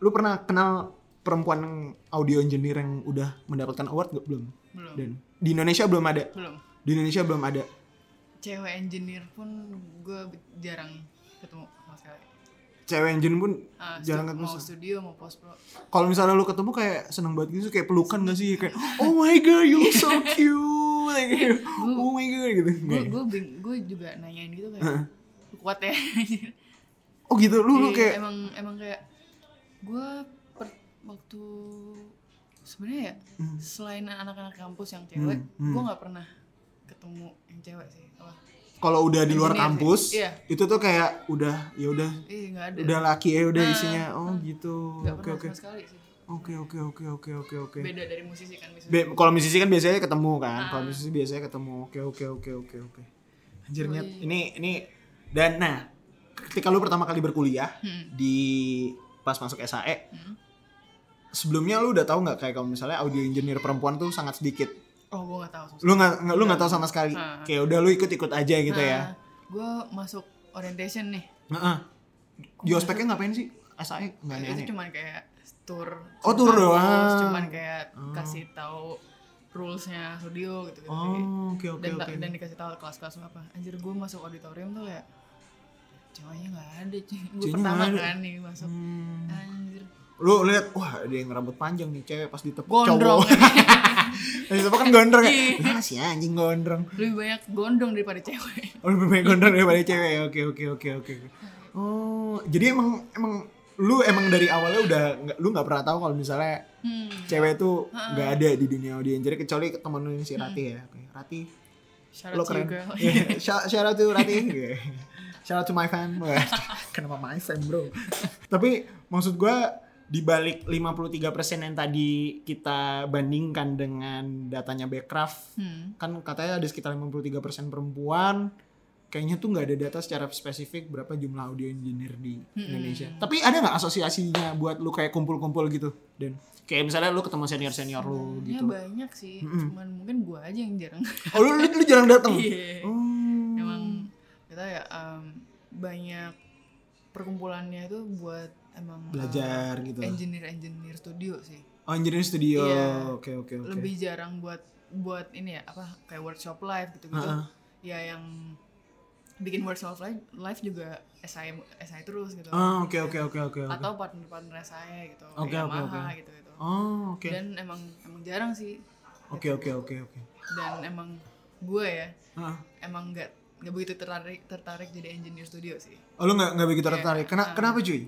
lu pernah kenal perempuan audio engineer yang udah mendapatkan award gak belum
Belum.
dan di Indonesia belum ada
Belum.
di Indonesia belum ada
Cewek engineer pun gue jarang ketemu sama sekali.
cewek engineer pun
Ah, stu-
Jarang ketemu
mau
sama-
studio mau post pro.
kalau misalnya lu ketemu kayak seneng banget gitu kayak pelukan gak sih kayak oh my god you look so cute Kayak, oh my god gitu
Gue gue gue juga nanyain gitu
Heeh.
kayak "Lu kuat ya. anjir."
oh gitu lu lu
Iya,
kayak
emang emang kayak gue waktu sebenarnya ya
Hmm.
selain anak-anak kampus yang cewek,
Hmm, hmm.
gue nggak pernah ketemu yang cewek sih. Wah,
kalau udah di luar
Engineer sih.
kampus
Iya.
itu tuh kayak udah ya udah
ih nggak ada.
udah laki ya udah
Nah,
isinya oh gitu
Nggak
oke
pernah
oke
sama sekali sih.
oke oke oke oke oke oke
Beda dari musisi kan musisi.
Be- kalau musisi kan biasanya ketemu kan kalau
Ah.
musisi biasanya ketemu oke oke oke oke oke anjir
Yoi.
nyet ini ini dan nah ketika lu pertama kali berkuliah
Hmm.
di pas masuk SAE
Hmm.
sebelumnya lu udah tahu nggak kayak kalau misalnya audio engineer perempuan tuh sangat sedikit
Oh, gue nggak tahu.
lu nggak nggak- lu nggak tahu sama sekali
Ah.
kayak udah lu ikut ikut aja gitu ya
Gue Nah, masuk orientation nih.
Heeh. Di ospeknya ngapain sih? SAE nggak aneh-aneh.
Itu cuman kayak tour.
Oh, tour
kampus,
doang.
Cuman kayak
Oh.
kasih tahu rulesnya studio gitu.
Oh, oke oke
dan,
oke.
dan dikasih tahu kelas-kelas apa. Anjir, gue masuk auditorium tuh kayak ceweknya nggak ada. Gue
Ceweknya
pertama
nggak ada.
kan nih masuk.
Hmm.
Anjir,
Lu lihat, wah ada yang rambut panjang nih cewek pas ditepuk
gondrong.
cowok. Pas ditepuk kan gondrong ya.
Iya.
Nah, si anjing gondrong.
Lebih banyak gondrong daripada cewek.
Oh, lebih banyak gondrong daripada cewek. ya. Oke oke oke oke. Oh, jadi emang emang lu emang dari awalnya udah nggak- lu nggak pernah tahu kalau misalnya
Hmm.
cewek tuh nggak ada di dunia audiens jadi kecuali ke temen lu yang si Rati ya Oke, Rati
Shout
lo
out to
keren. Iya.
you, girl.
Yeah, shout, shout out to Rati. Yeah. shout out to my fan. Wah, Kenapa my fan bro? Tapi maksud gue di balik 53% yang tadi kita bandingkan dengan datanya Backcraft
Hmm.
kan katanya ada sekitar 53% perempuan kayaknya tuh nggak ada data secara spesifik berapa jumlah audio engineer di Indonesia tapi ada nggak asosiasinya buat lu kayak kumpul-kumpul gitu dan kayak misalnya lu ketemu senior-senior lu
Sebenarnya
gitu
Ya banyak sih,
Mm-mm.
cuman mungkin gue aja yang jarang.
oh lu, lu, lu jarang datang
Iya.
Hmm.
Emang kita ya em, banyak perkumpulannya itu buat emang uh,
belajar gitu
engineer engineer studio sih.
Oh, engineering studio.
Iya.
Oke, oke, oke.
Lebih jarang buat buat ini ya apa kayak workshop live gitu gitu.
Ha-ha.
Ya yang bikin workshop live live juga SI SI terus gitu.
Ah, oke, oke, oke, oke. oke.
Atau partner-partner saya gitu,
Oke,
kayak
oke,
Yamaha
oke.
gitu gitu.
Oh, oke.
Dan emang emang jarang sih.
Oke, oke, oke, oke.
Dan emang gue ya
Ah.
emang nggak nggak begitu tertarik tertarik jadi engineer studio sih
Oh, lu nggak nggak begitu
Iya.
tertarik. Kena,
Ah.
kenapa, cuy?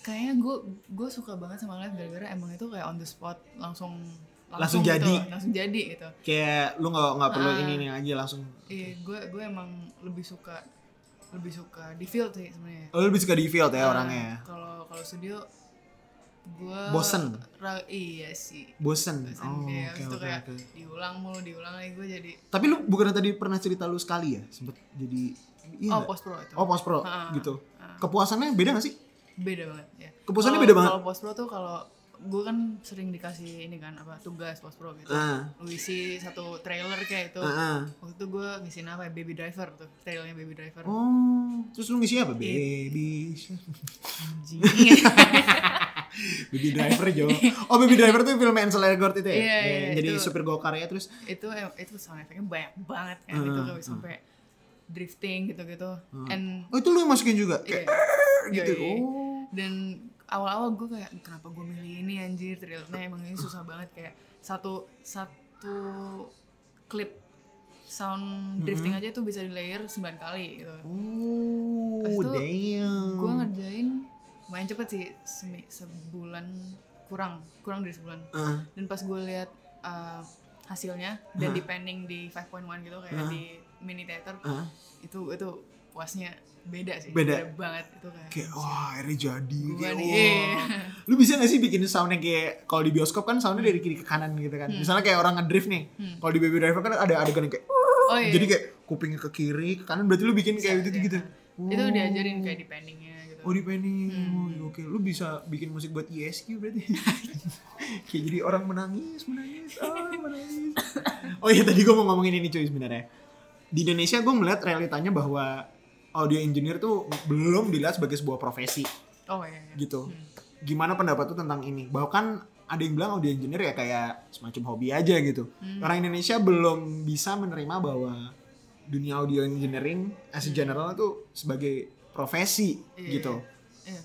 kayaknya gue gue suka banget sama live gara-gara emang itu kayak on the spot langsung
Langsung
gitu,
jadi.
langsung jadi gitu
Kayak lu nggak nggak perlu
Ah.
ini nih aja langsung.
iya gue gue emang lebih suka lebih suka di field sih sebenarnya
Oh, lu lebih suka di field ya
Nah,
orangnya.
kalau kalau studio gue
Bosen.
ra- iya sih
Bosen.
Bosen,
Oh, oke,
kayak abis itu
oke,
kayak
oke.
diulang mulu diulang lagi gue jadi
Tapi lu bukan tadi pernah cerita lu sekali ya, sempet jadi iya
oh
nggak?
post pro itu
Oh, post pro
Ah,
gitu.
ah.
Kepuasannya beda gak sih?
beda banget ya
Keputusannya
Kalau-
beda banget.
kalau post pro tuh kalau gue kan sering dikasih ini kan apa tugas post pro gitu
Ah,
lu isi satu trailer kayak itu
ah, ah.
waktu itu gue ngisiin apa ya baby driver tuh trailernya baby driver
Oh, terus lu ngisi apa?
Iya.
Baby.
anjing
Baby Driver Jo. Oh Baby Driver tuh film Ansel Elgort itu ya.
Iya, iya,
Yang jadi
itu.
supir go-kart ya terus
itu itu sound efeknya banyak banget kan
Hmm,
itu tuh
hmm.
sampai drifting gitu gitu and
oh itu lu yang masukin juga. Kayak
iya.
gitu.
Yoi.
Oh.
dan awal-awal gue kayak kenapa gue milih ini anjir trailernya emang ini susah banget kayak satu satu klip
Hmm.
sound drifting aja tuh bisa di layer 9 kali gitu Abis
Oh,
itu,
damn.
gue ngerjain main cepet sih semi- sebulan kurang kurang dari sebulan
Ah,
dan pas gue lihat uh, hasilnya dan
Hah.
depending di 5.1 gitu kayak
Hah.
di mini theater
Hah?
itu itu puasnya beda sih
Beda.
banget itu kayak
kayak wah akhirnya jadi
Gua
kayak,
nih,
wah.
iya.
lu bisa gak sih bikin soundnya kayak kalau di bioskop kan soundnya dari kiri ke kanan gitu kan misalnya kayak orang ngedrift nih
Hmm.
kalau di baby driver kan ada adegan yang kayak
oh iya
jadi kayak kupingnya ke kiri ke kanan berarti lu bikin kayak
Bisa,
gitu
iya.
gitu
itu diajarin kayak dependingnya gitu
Oh di Penny, Oh, oke. Lu bisa bikin musik buat ISQ berarti. Kayak jadi orang menangis, menangis, ah menangis. Oh iya tadi gue mau ngomongin ini cuy sebenarnya. Di Indonesia gue melihat realitanya bahwa audio engineer tuh belum dilihat sebagai sebuah profesi
oh iya, iya.
gitu. Gimana pendapat lu tentang ini? Bahkan ada yang bilang audio engineer ya kayak semacam hobi aja gitu.
Hmm.
Orang Indonesia belum bisa menerima bahwa dunia audio engineering as a general itu sebagai profesi
Hmm. Iya, Hmm.
gitu
iya.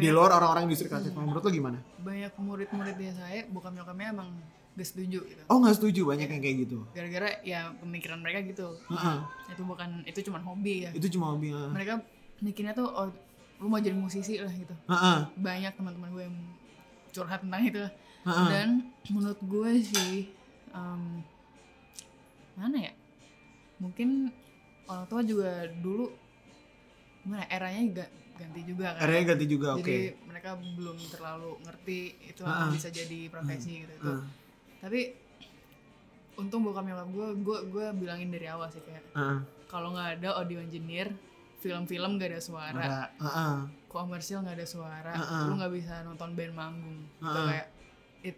di
banyak,
luar orang-orang industri kreatif menurut lo gimana?
banyak murid-murid dia saya bokap nyokapnya emang gak setuju gitu
Oh nggak setuju banyak yang kayak gitu.
gara-gara ya pemikiran mereka gitu
Heeh.
itu bukan itu cuman hobi ya
Itu cuma hobi. Heeh.
mereka mikirnya tuh oh, lu mau jadi musisi lah gitu
Heeh.
banyak teman-teman gue yang curhat tentang itu
Heeh.
dan menurut gue sih em, mana ya mungkin orang tua juga dulu gimana ya, eranya juga ganti juga kan
Akhirnya ganti juga oke.
jadi mereka belum terlalu ngerti itu
Ah, ah.
bisa jadi profesi gitu,
Heeh.
tapi untung bokap nyokap gue gue gue bilangin dari awal sih kayak
Heeh.
kalau nggak ada audio engineer film-film gak ada suara
Ada. Heeh.
komersil nggak ada suara
Heeh.
lu nggak bisa nonton band manggung gitu
Heeh.
kayak it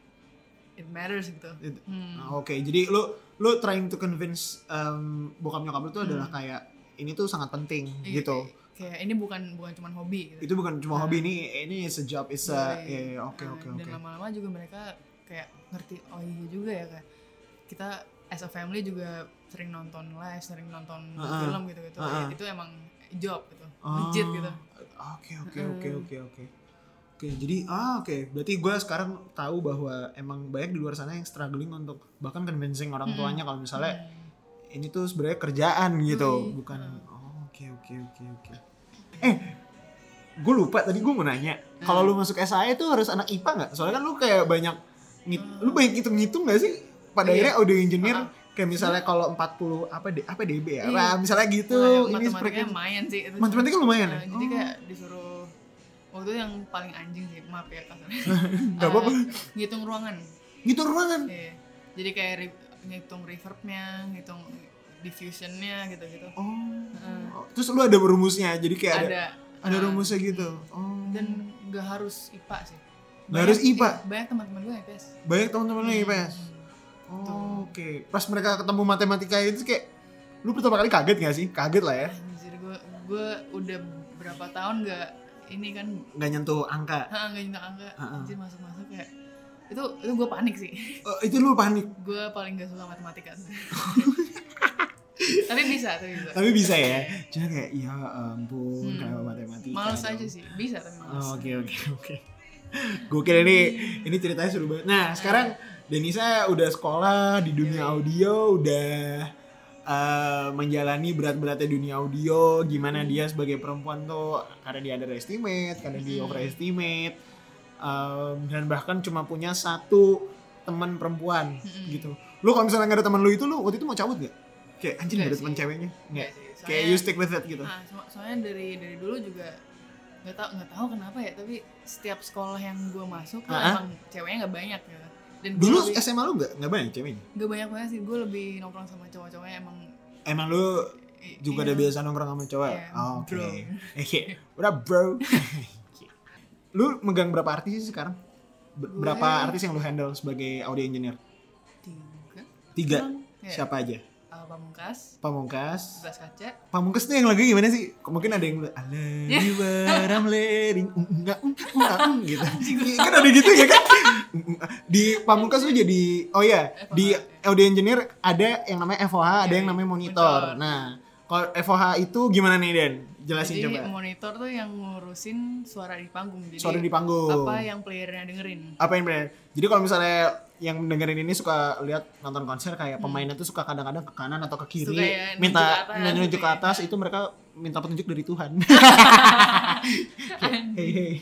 it matters gitu
It-
Hmm.
Nah, Oke, jadi lu lu trying to convince em, bokap nyokap lu tuh adalah kayak ini tuh sangat penting
Hmm. Iya,
gitu.
kayak- kayak ini bukan bukan cuman hobi gitu
Itu bukan cuma hobi ini, ini is a job, is a
Iya,
eh, oke
Nah,
oke
dan
oke.
lama-lama juga mereka kayak ngerti oh iya juga ya kayak kita as a family juga sering nonton live sering nonton
Heeh.
film gitu gitu
Heeh.
itu emang job gitu
Ah,
legit gitu
Oke oke oke oke oke. Oke jadi ah oke berarti gue sekarang tahu bahwa emang banyak di luar sana yang struggling untuk bahkan convincing
Hmm.
orang tuanya kalau misalnya ini tuh sebenarnya kerjaan gitu
Yoi.
bukan oh, oke oke oke oke. Eh gue lupa tadi gue mau nanya
Hmm.
kalau lu masuk SAE tuh harus anak IPA nggak? Soalnya kan lu kayak banyak ngit- lu banyak hitung-hitung gak sih? Pada akhirnya
Iya.
audio engineer
Ah.
kayak misalnya kalau 40 apa D- apa DB ya?
Iya.
Nah, misalnya gitu
Nah,
ini
matematikanya
seperti
lumayan sih itu.
matematika lumayan ya?
Nah, jadi
Oh.
kayak disuruh waktu itu yang paling anjing sih maaf ya kasarnya
Gak apa-apa.
Eh, ngitung ruangan
gitu ruangan.
iya. jadi kayak re- ngitung reverbnya ngitung diffusionnya gitu gitu
Oh. Terus lu ada rumusnya. Jadi kayak Iya, ada ada,
Ah. ada eh,
rumusnya gitu. Oh.
dan nggak harus IPA sih
Nggak harus IPA?
banyak teman-teman gue IPS
Banyak teman-teman yang IPS.
Gitu.
Oh, oke. Pas mereka ketemu matematika itu kayak lu pertama kali kaget gak sih? Kaget lah ya.
Hmm, iya. anjir gue gue udah berapa tahun nggak ini kan
Gak nyentuh angka.
ha, nggak nyentak angka
Heeh.
anjir masuk-masuk kayak itu itu gue panik sih
Eh, itu lu panik.
gue paling gak suka matematika tapi bisa tapi bisa
Tapi bisa ya. Cuma kayak ya ampun
Hmm.
kenapa matematika.
males
dong?
aja sih bisa tapi males
Oh, Oke oke oke. Gokil ini ini ceritanya seru banget. Nah sekarang Denisa udah sekolah di
Iya,
dunia audio, udah eh, menjalani berat-beratnya dunia audio. Gimana
Hmm.
dia sebagai perempuan tuh karena dia underestimate, karena dia
Hmm.
overestimate, em, dan bahkan cuma punya satu teman perempuan
Hmm.
gitu. Lu kalau misalnya nggak ada teman lu itu lu waktu itu mau cabut gak? Kayak anjing
Nggak
gak ada teman
sih.
ceweknya? Nggak.
Iya sih soalnya-
Kayak you stick with it gitu.
ah, so- soalnya dari dari dulu juga nggak tau nggak tahu kenapa ya tapi setiap sekolah yang gue masuk tuh
Ah.
emang ceweknya nggak banyak gitu dan gue
Dulu
lebih-
SMA lu nggak nggak banyak ceweknya?
nggak banyak banget sih gue lebih nongkrong sama cowok-cowoknya emang
Emang lu
i-
juga
iya.
ada biasa nongkrong sama cowok.
Iya,
Oh, Oke.
bro.
Oke. Udah bro. lu megang berapa artis sih sekarang? Ber-
Gue-
Berapa artis yang lu handle sebagai audio engineer?
tiga
Tiga.
Emang, ya.
Siapa aja?
Ah, pamungkas
Pamungkas.
sebelas kaca
Pamungkas tuh yang lagu gimana sih? Mungkin ada yang I love you but I'm letting mm, enggak mm, enggak, mm, gitu. kan ada gitu ya kan? Mm, mm. Di Pamungkas lu jadi oh ya, di audio engineer ada yang namanya FOH, ada yang namanya monitor.
Iya, monitor.
Nah, kalau FOH itu gimana nih Den? Jelasin
jadi
coba.
monitor tuh yang ngurusin suara di panggung jadi
Suara di panggung.
apa yang playernya dengerin
apa yang benar jadi kalau misalnya yang dengerin ini suka lihat nonton konser kayak pemainnya tuh suka kadang-kadang ke kanan atau ke kiri
Hmm. Suka ya, nunjuk
minta
ke atas
menunjuk
gitu
ke
ya.
atas itu mereka minta petunjuk dari Tuhan Kayak, hey hey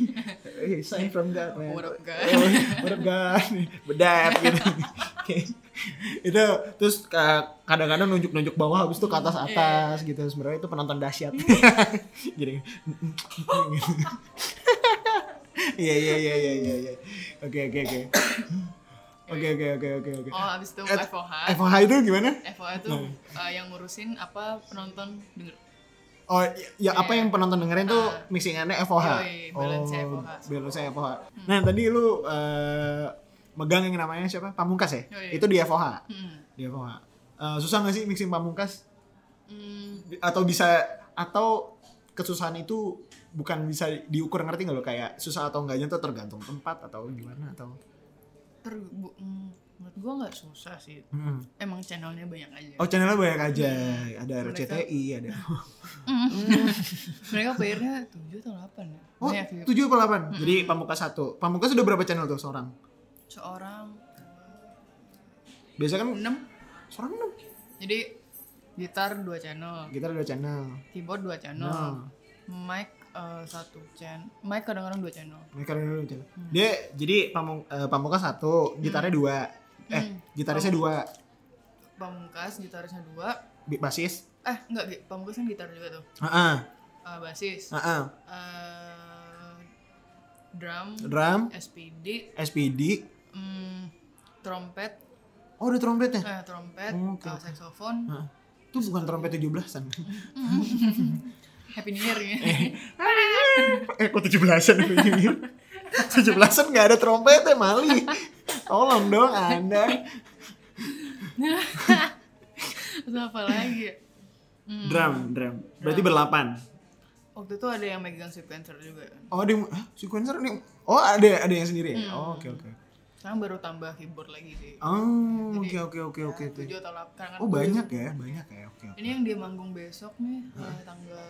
hey sign from God man
What up, God?
Oh, what up God bedat gitu oke itu terus ka- kadang-kadang nunjuk-nunjuk bawah habis itu ke atas atas
Iya.
gitu sebenarnya itu penonton dahsyat gini iya iya iya iya iya iya. oke oke oke oke oke oke oke oke
Oh, abis itu
Eh,
FOH.
FOH itu gimana
FOH tuh eh, yang ngurusin apa penonton denger.
Oh, ya- ya apa yang penonton dengerin tuh
Iya. Ah.
mixingannya FOH.
Yoi, balance-nya FOH.
Oh, balance-nya FOH.
Hmm.
Nah, tadi lu eh, megang yang namanya siapa? Pamungkas ya?
Yoi.
Itu di FOH.
Hmm.
Di FOH. Eh, susah gak sih mixing Pamungkas?
Hmm,
Atau bisa atau kesusahan itu bukan bisa diukur ngerti nggak lo kayak susah atau enggaknya tuh tergantung tempat atau gimana atau
ter bu- hmm, menurut gua nggak susah sih.
Hmm.
Emang channelnya banyak aja.
oh channelnya banyak aja ada
Mereka-
RCTI ada
Hmm. Mereka playernya 7 atau 8 ya.
oh
Banyak ya.
tujuh atau delapan jadi pamungkas satu pamungkas udah berapa channel tuh seorang
Seorang
biasa kan
6.
seorang enam
Jadi gitar 2 channel,
gitar dua channel
keyboard
Nah.
2 channel, mic eh, satu channel, mic kadang-kadang 2 channel.
mereka dulu channel dia jadi pamung eh, pamungkas satu gitarnya dua eh
Hmm.
gitarisnya dua
Pamungkas gitarisnya 2.
bi- basis
Eh, enggak, Gi. Pamungkas kan gitar juga tuh.
Heeh,
Eh, basis,
heeh.
eh, drum,
drum
SPD,
SPD
mm, trompet,
oh ada trompetnya
eh, trompet,
Oh, oke,
eh,
oke.
saxophone,
Heeh. itu bukan trompet 17-an
happy new year ya.
eh kok 17-an kayaknya? 17-an gak ada trompetnya Mali tolong dong anda
Terus apa lagi? ya? Hmm,
drum drum berarti berlapan
Waktu itu ada yang megang sequencer juga kan.
oh ada yang- hah, sequencer nih oh ada ada yang sendiri
Hmm.
ya Oh, oke oke
Sekarang baru tambah keyboard lagi sih.
oh oke oke oke oke oke.
7 atau 8 karena kan
oh banyak ya banyak ya oke oke
Ini yang dia manggung besok nih eh, tanggal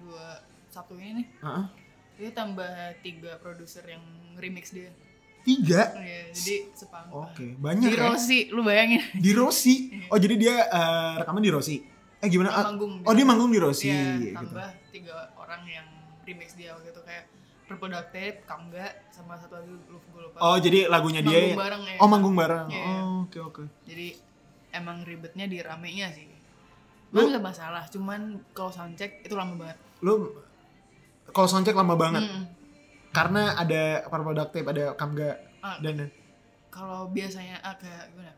2 Sabtu ini nih.
Heeh.
Dia tambah 3 produser yang remix dia.
tiga
Iya, jadi sepanggung.
Oke, banyak
Di
ya.
Rossi, lu bayangin.
Di Rossi. Oh, jadi dia eh, rekaman di Rossi. Eh gimana?
Dia
Ah,
manggung di
oh, dia manggung di Rossi
Iya,
gitu.
tambah tiga orang yang remix dia waktu itu kayak Purple Duct Tape, Kamga, sama satu lagi lu gue lupa.
Oh, jadi lagunya dia
Manggung bareng ya.
Oh, manggung bareng.
Iya.
Oh, oke oke.
Jadi emang ribetnya di ramenya sih.
Lu-
Emang nggak masalah, cuman kalau soundcheck itu lama banget.
Lu kalau soundcheck lama banget
Mm.
karena ada Purple Duct Tape, ada Kamga
Ah,
dan dan-
kalau biasanya ah, kayak gimana?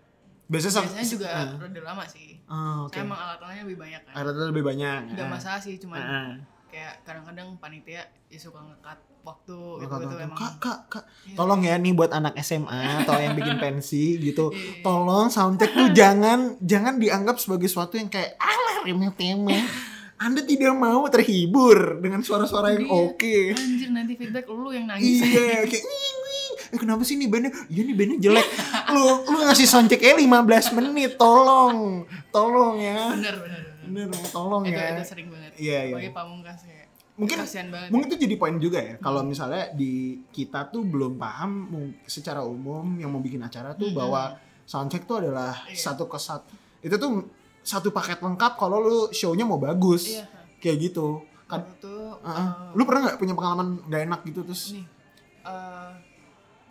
biasanya sam-
Biasanya juga
Ah,
rada lama sih.
ah, oke. Eh.
Saya emang alat-alatnya lebih banyak kan.
Akhirnya lebih banyak.
Gak
Ah,
masalah sih, cuman
ah, ah.
kayak kadang-kadang panitia ya suka ngekat waktu
Oh,
itu
kak,
itu
kak,
emang
Kak, kak, kak,
Iya.
tolong ya nih buat anak SMA atau yang bikin pensi gitu,
Iya.
tolong soundcheck tuh jangan jangan dianggap sebagai sesuatu yang kayak alah remeh temeh. Anda tidak mau terhibur dengan suara-suara yang
Iya.
oke.
anjir nanti feedback lu yang nangis.
Iya, kayak "Wing, wing." Eh, kenapa sih ini bandnya? Iya nih bandnya jelek. Lu lu ngasih soundchecknya 15 menit, tolong, tolong ya.
bener bener. bener.
Bener, tolong
itu,
ya.
itu sering banget.
Iya, iya.
Bagi pamungkas kayak
Mungkin-
kasihan banget.
mungkin itu jadi poin juga ya kalau misalnya di kita tuh belum paham mung- secara umum yang mau bikin acara tuh bahwa soundcheck tuh adalah
Iya.
satu kesat itu tuh satu paket lengkap kalau lu show-nya mau bagus
Iya.
kayak gitu kan
Waktu itu
Heeh.
eh,
lu pernah nggak punya pengalaman nggak enak gitu terus
nih eh,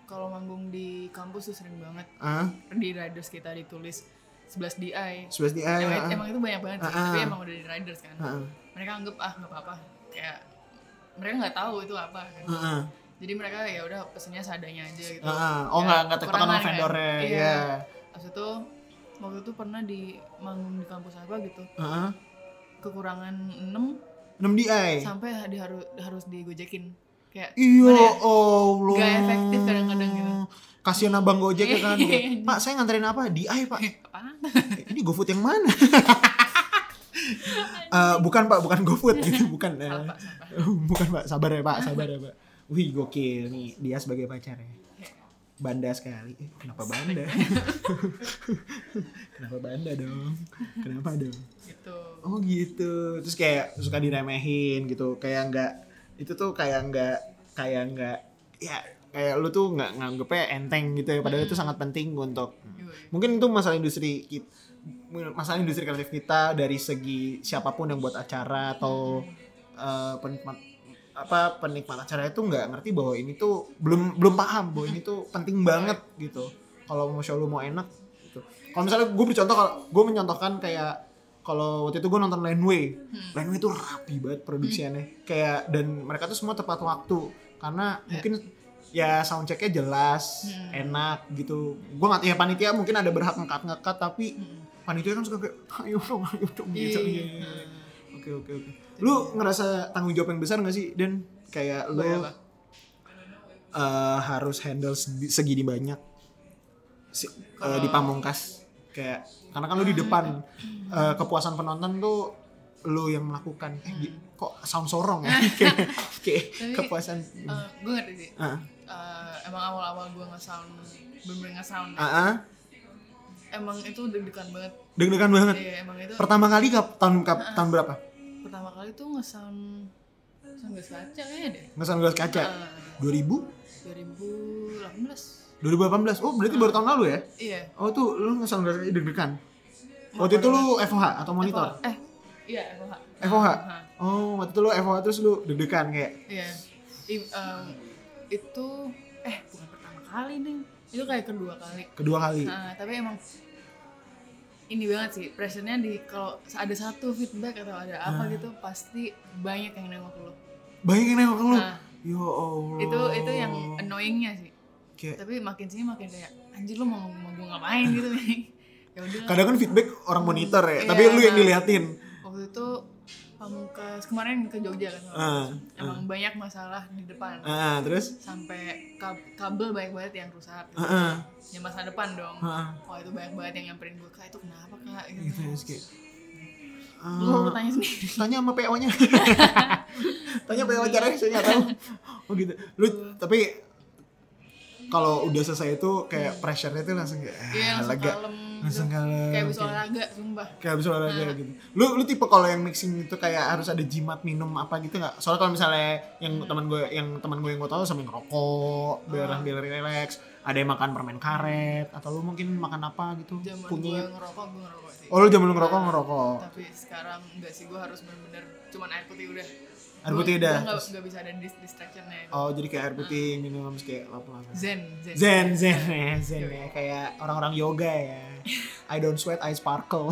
kalau manggung di kampus tuh sering banget
ah
di riders kita ditulis 11 DI.
sebelas di
Emang,
ah,
emang itu banyak banget sih,
Ah,
tapi
ah.
emang udah di riders kan.
ah, ah,
Mereka anggap ah nggak apa-apa. Kayak mereka nggak tahu itu apa kan.
ah, ah,
Jadi mereka ya udah pesennya seadanya aja gitu.
ah, ah. oh
Ya,
nggak nggak tektokan sama
kekurangan kan.
vendornya
Iya.
ya
Terus itu waktu itu pernah di manggung di kampus apa gitu
Heeh.
kekurangan 6
enam di iya
sampai di harus harus digojekin kayak
Iya. Allah
ya? Nggak efektif kadang-kadang gitu.
kasihan abang gojek ya kan
Iya.
pak saya nganterin apa di pak
apa
Eh, ini GoFood yang mana? Eh, bukan pak, bukan GoFood gitu, bukan. eh.
sampah sampah
bukan pak, sabar ya pak, sabar ya pak. Wih gokil nih dia sebagai pacar ya. Banda sekali. Eh, kenapa banda? kenapa banda dong? Kenapa dong?
gitu
Oh gitu. Terus kayak suka diremehin gitu, kayak nggak itu tuh kayak nggak kayak nggak ya kayak lu tuh nggak nganggepnya enteng gitu ya padahal itu sangat penting untuk
Yoi.
mungkin itu masalah industri kita masalah industri kreatif kita dari segi siapapun yang buat acara atau eh, penikmat apa penikmat acara itu nggak ngerti bahwa ini tuh belum belum paham bahwa ini tuh penting banget gitu kalau mau show lu mau enak gitu. Kalau misalnya gue bercontoh kalau gue mencontohkan kayak kalau waktu itu gue nonton Laneway,
Hmm.
Laneway itu rapi banget produksiannya, kayak dan mereka tuh semua tepat waktu karena mungkin ya soundchecknya jelas,
Hmm.
enak gitu. Gue nggak ya panitia mungkin ada berhak ngekat ngekat tapi
Hmm.
panitia kan suka kayak ayo dong ayo dong gitu. Iya, iya, iya.
Hmm.
Oke oke oke. Lu ngerasa tanggung jawab yang besar gak sih dan kayak lu
Boleh lah.
eh, harus handle segi- segini banyak si, eh, di pamungkas kayak karena kan lu di depan eh, kepuasan penonton tuh lu yang melakukan eh, di- kok sound sorong ya kayak kayak
Tapi,
kepuasan
Eh, gue ngerti sih.
ah
Eh, emang awal-awal gue nge-sound, bener-bener nge-sound.
ah ah.
Emang itu deg-degan banget.
deg-degan banget
Iya, emang itu
pertama kali kap tahun kap- tahun berapa
pertama kali tuh nge-sound, sound gas kaca kayaknya deh. Eh,
ngesan gelas kaca 2000
2018.
2018 oh berarti baru tahun lalu ya
Iya.
oh tuh lu ngesan gelas kaca deg-degan waktu itu lu FOH atau monitor
Eh, iya, FOH.
FOH oh waktu itu lu FOH terus lu deg-degan kayak
Iya. I- em, itu eh bukan pertama kali nih. Itu kayak kedua kali.
kedua kali
Nah, tapi emang ini banget sih pressure-nya di kalau ada satu feedback atau ada apa
Nah.
gitu pasti banyak yang nengok lu.
Oh. banyak yang nengok lu
Nah,
ya Allah
itu itu yang annoyingnya sih.
Kayak-
Tapi makin sini makin kayak anjir lu mau mau gue ngapain gitu nih. ya udah.
kadang kan feedback orang monitor ya
Iya,
tapi lu yang
nah.
diliatin
Waktu itu pamungkas kemarin ke Jogja kan.
Ah,
emang banyak masalah di depan.
ah, terus
Sampai kab- kabel banyak banget yang rusak.
ah, ah,
Ya masa depan dong.
ah, ah.
Wah itu banyak banget yang nyamperin gue kak itu kenapa kak
gitu
gitu.
ya terus kayak
Lu
ah,
tanya sendiri.
tanya sama PO nya tanya PO caranya saya nggak tahu oh gitu lu tapi kalau udah selesai itu kayak pressure-nya tuh langsung kayak ah,
Iya langsung
lega
kalem.
langsung
gitu.
kalem
Kayak bisa olahraga sumpah.
kayak habis olahraga gitu. Lu lu tipe kalau yang mixing itu kayak harus ada jimat minum apa gitu nggak? Soalnya kalau misalnya yang
Hmm.
teman gue yang teman gue yang gue tahu sambil ngerokok, biar biar relax, ada yang makan permen karet atau lu mungkin makan apa gitu,
Zaman gue
kunyit.
ngerokok gue ngerokok sih.
Oh lu zaman lu ngerokok ngerokok.
Tapi sekarang enggak sih gue harus bener-bener cuman air putih udah.
Air putih udah.
Gue nggak bisa ada dis- distraction-nya itu.
Oh jadi kayak air putih minum terus kayak lap-lap.
Zen, zen.
Zen, zen, ya, zen ya. Kayak orang-orang yoga ya. I don't sweat, I sparkle.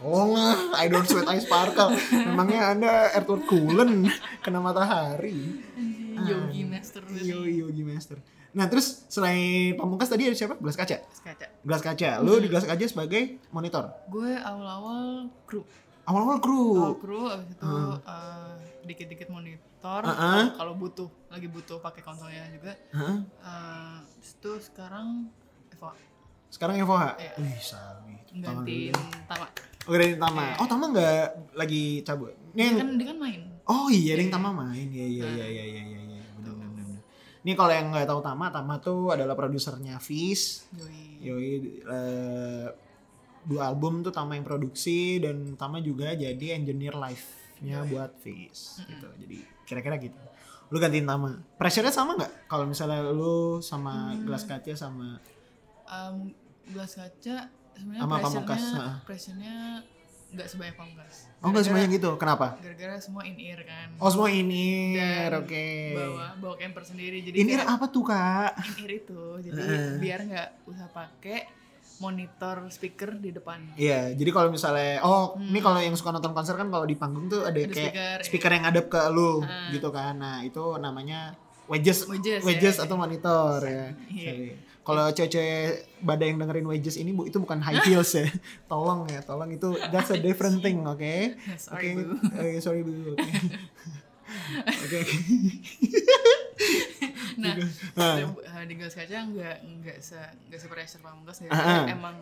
Tolonglah, Oh, I don't sweat, I sparkle. Memangnya anda Edward Cullen kena matahari.
Anjing, Yogi master
Ah. Yo,
dari
yo, master. Nah terus selain pamungkas tadi ada siapa? Gelas kaca.
kaca.
Gelas kaca. Lu di gelas kaca sebagai monitor.
Gue awal-awal kru,
Awal-awal
awal
kru. Ah.
kru abis itu eh, dikit-dikit monitor.
Heeh.
Kalau butuh, lagi butuh pakai konsolnya juga.
Hah?
Eh, abis itu sekarang Eva
Sekarang FOH.
Iya.
Wih, sabi.
gantiin Tama.
Oh, dari Tama. Oh, Tama nggak lagi cabut. Ini
Dia
yang
Iya. kan dia kan main.
Oh iya, ada yang Tama main. Iya iya iya iya iya iya. iya. Benar benar benar. Ini kalau yang nggak tahu Tama, Tama tuh adalah produsernya Fis. Iya.
Yoi.
Yoi eh, dua album tuh Tama yang produksi dan Tama juga jadi engineer live-nya buat Fis gitu. Jadi kira-kira gitu. Lu gantiin Tama. Pressure-nya sama nggak? Kalau misalnya lu sama gelas kaca sama
Em, gelas kaca sebenarnya
Sama Pamungkas,
pressure-nya
heeh.
pressure-nya nggak sebanyak pamungkas.
Oh nggak
Gara-gara-
semuanya gitu. Kenapa?
Gara-gara semua in ear kan.
Oh semua ini.
Dan
Oke.
Bawa bawa camper sendiri jadi
Ini
kayak-
apa tuh kak?
in ear itu. Jadi
ah. Heeh.
biar nggak usah pakai monitor speaker di depan.
Iya, jadi kalau misalnya oh, ini kalau yang suka nonton konser kan kalau di panggung tuh ada, kayak
Ada speaker,
speaker, yang ngadep ke lu gitu kan. Nah, itu namanya wedges
Ah. Wedges,
wedges,
ya.
atau monitor ya.
Iya.
Sorry. Kalau cewek-cewek badai yang dengerin wedges ini Bu, itu bukan high heels ya. Tolong ya, tolong itu that's a different thing, oke?
Sorry,
Oke,
Bu.
eh, sorry Bu. Oke. Oke. oke.
Nah,
Ah.
dan, eh, di gelas kaca nggak nggak se nggak se pressure pamungkas jadi
Ah, ah.
emang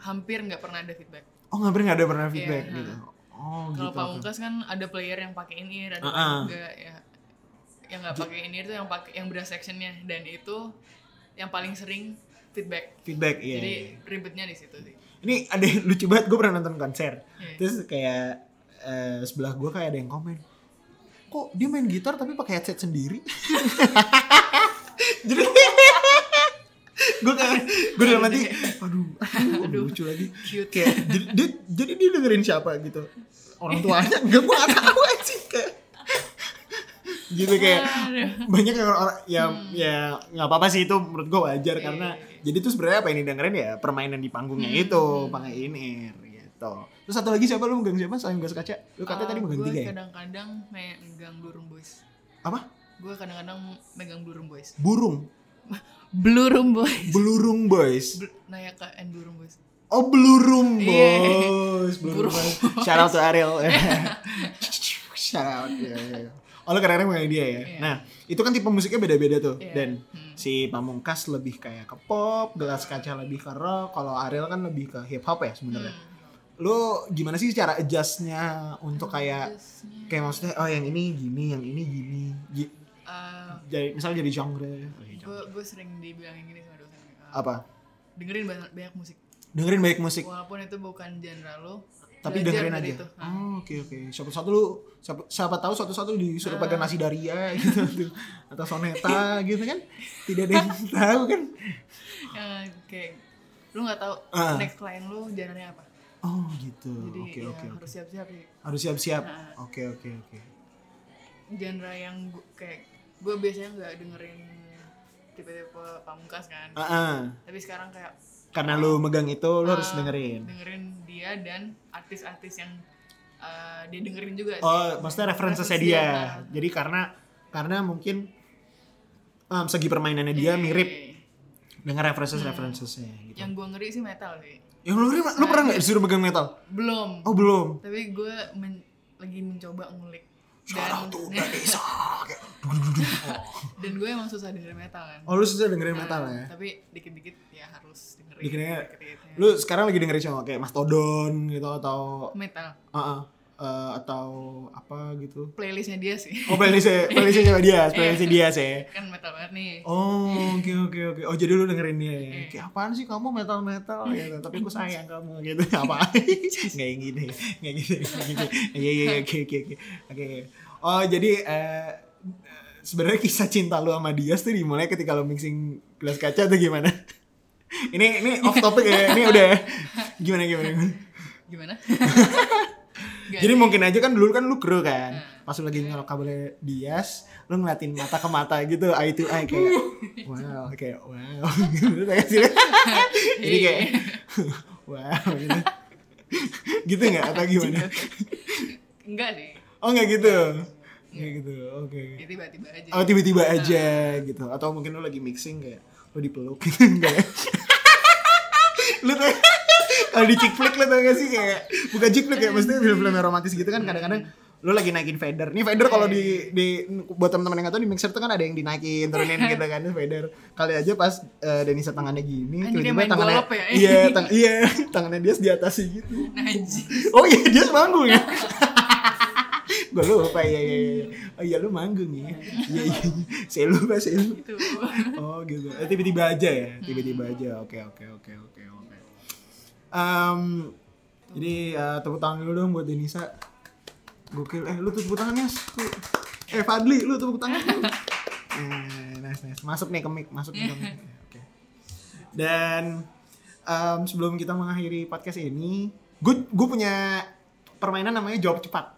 hampir nggak pernah ada feedback.
Oh, nggak pernah ada pernah feedback
Iya,
gitu. Oh,
Kalau
gitu. oke.
pamungkas kan ada player yang pakai in ear, ada
Ah,
yang
ah.
nggak ya yang nggak pakai in ear tuh yang pakai yang beras sectionnya dan itu yang paling sering feedback.
Feedback, iya.
Jadi
iya.
ribetnya di situ sih.
ini ada yang lucu banget gue pernah nonton konser
Iya.
terus kayak eh, sebelah gue kayak ada yang komen kok dia main gitar tapi pakai headset sendiri jadi gue kayak gue udah mati aduh aduh lucu lagi
Cute.
kayak jadi dia, jadi dia dengerin siapa gitu orang tuanya enggak gue gak tahu sih kayak gitu kayak
Aduh.
banyak yang orang ya
Hmm.
ya nggak apa-apa sih itu menurut gue wajar
Iya,
karena jadi tuh sebenarnya apa yang didengerin ya permainan di panggungnya
Hmm,
itu pakai ini gitu terus satu lagi siapa lu megang siapa selain gas kaca lu katanya
Ah,
tadi megang
gua
tiga ya
kadang-kadang megang Blue Room Boys.
apa
Gue kadang-kadang megang Blue Room Boys.
burung
Blue Room Boys.
belurung boys
Bl- Nayaka and Blue Room Boys.
oh belurum
Iya.
boys belurum
Burung Iya.
boys shout out to Ariel shout out ya, ya, ya. oh lu kadang-kadang megang dia ya
Iya.
nah itu kan tipe musiknya beda-beda tuh
Iya.
dan
Hmm.
si Pamungkas lebih kayak ke pop, gelas kaca lebih ke rock, kalau Ariel kan lebih ke hip hop ya sebenarnya.
Hmm.
Lu gimana sih cara adjustnya untuk kayak
Terusnya,
kayak maksudnya oh yang ini gini, yang ini gini. Gi-
ah,
Jadi misalnya jadi genre. Oh, iya, genre.
gue gue sering dibilangin gini sama dosen uh,
Apa?
dengerin banyak, banyak musik
Dengerin banyak musik,
walaupun itu bukan genre lo
tapi
belajar
dengerin
dari
aja.
itu. Nah,
Oh, oke oke. Siapa satu lu siapa, siapa tahu satu-satu disuruh
Ah.
pada nasi daria gitu tuh. atau soneta gitu kan. Tidak ada yang tahu kan.
eh, kayak lu nggak tahu
Ah.
next klien lu genre apa
Oh, gitu.
jadi
Oke
ya,
oke oke.
harus siap-siap sih
Harus siap-siap.
Nah.
Oke oke oke.
genre yang gua, kayak gue biasanya nggak dengerin tipe-tipe pamungkas kan
Ah, ah.
tapi sekarang kayak
karena lu megang itu lu harus
ah,
dengerin.
dengerin dia dan artis-artis yang ah, dia dengerin juga
Oh, maksudnya referensinya
Referensi
dia.
nah.
Jadi karena karena mungkin em, segi permainannya dia mirip
Eh,
dengan references
Hmm.
referencesnya gitu.
yang gue ngeri sih metal sih
Ya lu, lu lu pernah nggak disuruh megang metal?
belum
Oh belum.
tapi gue men- lagi mencoba ngulik
Sekarang
dan
tuh nggak bisa. Kayak, duk, duk, duk, duk.
dan gue emang susah denger metal kan
Oh lu sudah dengerin metal
Nah,
ya?
tapi dikit-dikit ya harus dengerin
Dikit-dikit.
dikit-dikitnya.
Lu sekarang lagi dengerin cowok kayak Mastodon gitu atau
metal
ah, ah, eh, atau apa gitu?
playlistnya dia sih
Oh playlist playlistnya sama dia, playlistnya ya. dia sih.
kan metal banget nih
Oh, oke oke oke. Oh, jadi lu dengerin dia. ya? Kayak apaan sih kamu metal-metal gitu. Tapi aku sayang kamu gitu. Apa? Enggak yang gini. Enggak gini. nggak gini. Iya iya iya, oke oke oke. Oke. Oh, jadi eh sebenarnya kisah cinta lu sama Dias tuh dimulai ketika lu mixing gelas kaca atau gimana? ini ini off topic ya. Ini udah gimana gimana. gimana?
gimana Gak
Jadi
sih.
mungkin aja kan dulu kan lu kru kan. Pas lu lagi nyolok kabel Dias, lu ngeliatin mata ke mata gitu, eye to eye kayak wow, kayak wow. Gitu kayak sih. Jadi kayak wow gitu. gitu nggak atau gimana?
enggak sih
Oh nggak gitu. Nggak gitu. Oke.
ya tiba-tiba aja Nah.
Oh tiba-tiba aja gitu atau mungkin lu lagi mixing kayak lu dipeluk gitu enggak ya? lu tuh kalau di chick flick lu tau gak sih kayak bukan chick flick ya maksudnya film-film yang romantis gitu kan kadang-kadang lu lagi naikin fader nih fader kalau di
Iya,
di buat teman-teman yang gak tau di mixer tuh kan ada yang dinaikin turunin gitu kan ini fader kali aja pas eh, Denisa tangannya gini
Anjing, dia
tiba-tiba
main
tangannya
golop ya?
iya tang- iya tangannya dia di atas gitu
Najis.
Oh iya dia manggung ya. gue lupa ya, ya, ya. Oh iya lu manggung ya. Iya iya. Saya lupa saya lupa.
gitu
Oh gitu. Eh, Tiba-tiba aja ya. Tiba-tiba aja. Oke oke oke oke oke. Em, jadi eh, tepuk tangan dulu dong buat Denisa. Gokil. Eh lu tepuk tangan Yas. Tuh. Eh Fadli lu tepuk tangan. dulu. Eh, nice nice. Masuk nih ke mic. Masuk nih ke mic. Oke. Dan em, sebelum kita mengakhiri podcast ini, gue gue punya permainan namanya jawab cepat.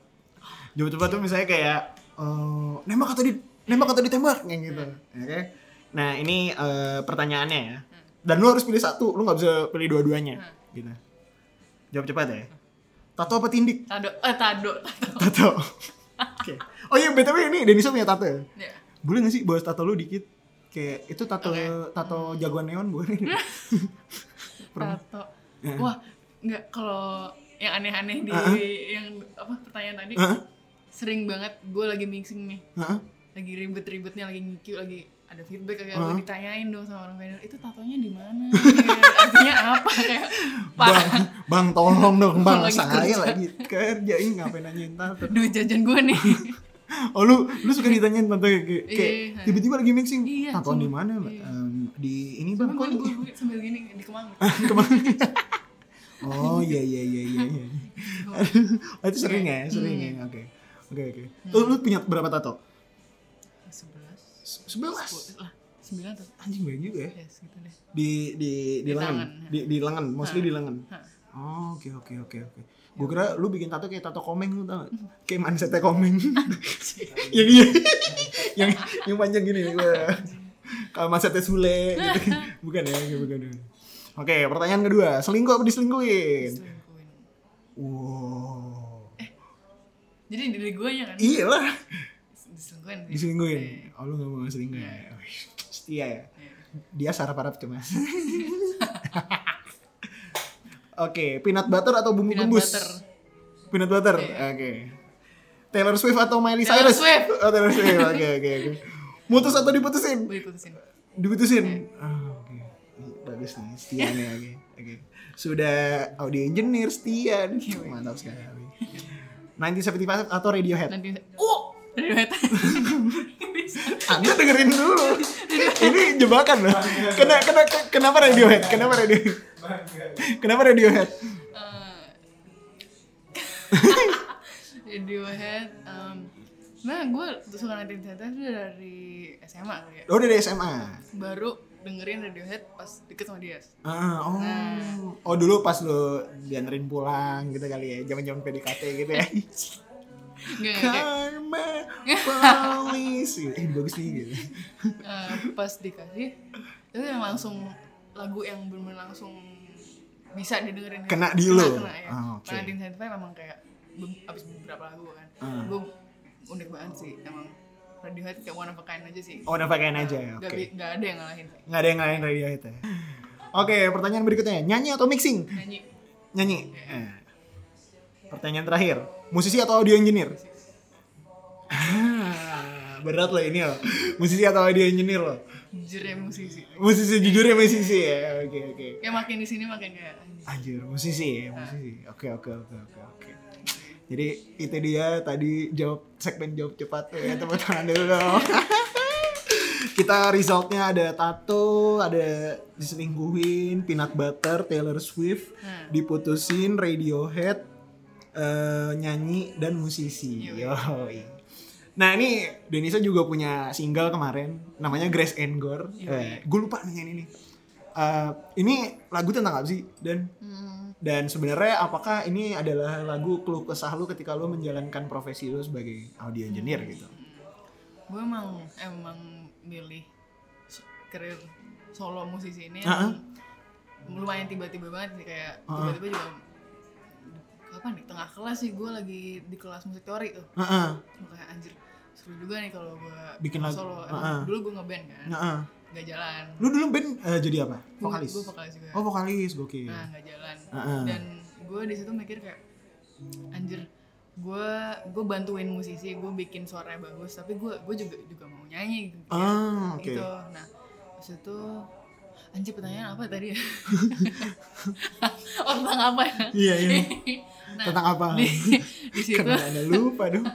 Jawab cepat tuh misalnya kayak eh, nembak atau di nembak atau ditembak kayak gitu. Oke. Nah, ini eh, pertanyaannya ya. Dan lu harus pilih satu, lu nggak bisa pilih dua-duanya. Gitu. Jawab cepat ya. Tato apa tindik?
tado eh tado tado
Tato. Oke. Oh iya, BTW ini Denisa punya tato ya?
ya
Boleh gak sih bahas tato lu dikit? Kayak itu tato
Oke.
tato jagoan neon boleh nih. Pernah.
tato
Eh.
wah nggak kalau yang aneh-aneh di
Ah, ah.
yang apa pertanyaan tadi
Hah?
sering banget gue lagi mixing nih
Hah?
lagi ribet-ribetnya lagi ngikut lagi ada feedback kayak
Heeh.
gue ditanyain dong sama orang vendor itu tatonya di mana Kayak, artinya apa kayak pak
Bang, bang tolong dong bang,
Lagi
saya
kerja.
lagi kerja ini ngapain nanyain tato.
duit jajan gue nih
Oh lu lu suka ditanyain tante kayak, kayak
Iya.
tiba-tiba lagi mixing
Iya,
tatoan di
cuma-
mana Mbak?
iya.
Em, di ini bang
gue
kok ini?
gue sambil gini di kemang
Kemana? oh iya iya iya iya iya. oh, itu sering
Iya.
ya sering ya
Hmm.
oke oke oke. Tuh lu punya berapa tato?
sebelas
Se- Sebelas.
lah sembilan atau
Anjing banyak juga ya
ya segitu deh
di di di,
Di
lengan
tangan. ya. Nah.
di di lengan mostly di lengan
Hah.
Oh, oke oke oke
Ya.
oke. Gue kira lu bikin tato kayak tato komeng lu tau gak?
Hmm.
Kayak mansetnya komeng. yang iya. yang yang panjang gini. Wah. Kalau mansetnya Sule gitu. Bukan ya, bukan. bukan. Oke, pertanyaan kedua. Selingkuh apa diselingkuhin?
Selingkuhin.
Wow.
Jadi diri gue ya kan
Iya lah.
diselingkuhin.
Diselingkuhin. Oh, lu gak mau selingkuh
Iya.
ya? Wih, Setia ya? Dia sarap-sarap cuma. Oke, peanut butter atau bumbu
Peanut
gembus?
butter.
Peanut butter.
Iya.
Oke. Taylor Swift atau Miley
Taylor
Cyrus?
Swift.
Oh, Taylor Swift. Oke, oke, oke. Mutus atau diputusin?
Gue diputusin.
Diputusin. Ah, oke. Bagus nih, setia nih. Oke. oke. Sudah audio engineer setia. nih.
Iya,
Mantap sekali. 1975 atau Radiohead?
Nanti oh dari meta.
Anda Ah, dengerin dulu. Ini jebakan loh. Kena, kena, kenapa Radiohead? Kenapa Radiohead? Kenapa Radiohead?
Radiohead. Um, nah gue suka nanti ternyata itu dari SMA kali ya.
Oh, dari SMA.
Baru dengerin Radiohead pas deket sama dia.
Ah, oh. oh dulu pas lo dianterin pulang gitu kali ya, zaman-zaman PDKT gitu ya.
Enggak, enggak, kayak,
Karma polisi. Eh bagus nih gitu.
eh, pas dikasih itu yang langsung lagu yang bener langsung bisa didengerin
Kena di lo?
kena, kena, ya.
Ah, oke.
Karena di Spotify memang kayak be- abis beberapa lagu kan
Ah.
gue unik banget sih emang Radiohead kayak one of a kind aja sih
Oh udah pakaian aja ya,
Gak,
oke.
bi- gak ada yang ngalahin sih
Nggak ada yang lain radio itu. ya. Oke, pertanyaan berikutnya, nyanyi atau mixing?
nyanyi
Nyanyi. Eh. Pertanyaan terakhir, musisi atau audio engineer? Ah, berat loh ini loh. Musisi atau audio engineer loh.
jujur ya musisi
Musisi jujur ya musisi ya. Oke oke.
kayak makin di sini makin kayak anjing.
Anjir, musisi
Ah.
ya, musisi. Oke, oke, oke, oke, oke. Jadi itu dia tadi jawab segmen jawab cepat ya teman-teman dulu. Kita resultnya ada tato, ada diselingkuhin, peanut butter, Taylor Swift,
Hmm.
diputusin, Radiohead, eh, nyanyi dan musisi.
Yoi.
Yoi. Nah ini Denisa juga punya single kemarin, namanya Grace and Gore.
Yoi.
gue Eh, lupa nanyain ini. Eh, ini lagu tentang apa sih? Dan
Hmm.
dan sebenarnya apakah ini adalah lagu keluh kesah lu ketika lu menjalankan profesi lu sebagai audio engineer gitu?
gue emang emang milih s- karir solo musisi ini
Ah, ah.
emang lumayan tiba-tiba banget sih kayak tiba-tiba juga kapan nih tengah kelas sih gue lagi di kelas musik teori tuh
Heeh.
Gua kayak anjir seru juga nih kalau gue
Bikin lagu.
solo
Ah,
Emang
ah.
dulu gue ngeband kan
Heeh.
nggak jalan
Lu dulu band eh, jadi apa? Vokalis.
gue vokalis juga
Oh, vokalis, gokil.
nah nggak jalan
Ah, ah.
dan gue di situ mikir kayak anjir gue gue bantuin musisi gue bikin suaranya bagus tapi gue gue juga juga mau nyanyi gitu.
Ah, oke.
gitu nah terus itu anjir pertanyaan apa tadi ya oh tentang apa ya
Iya, iya.
nah
Tentang apa?
di, di situ
Karena ada lupa dong.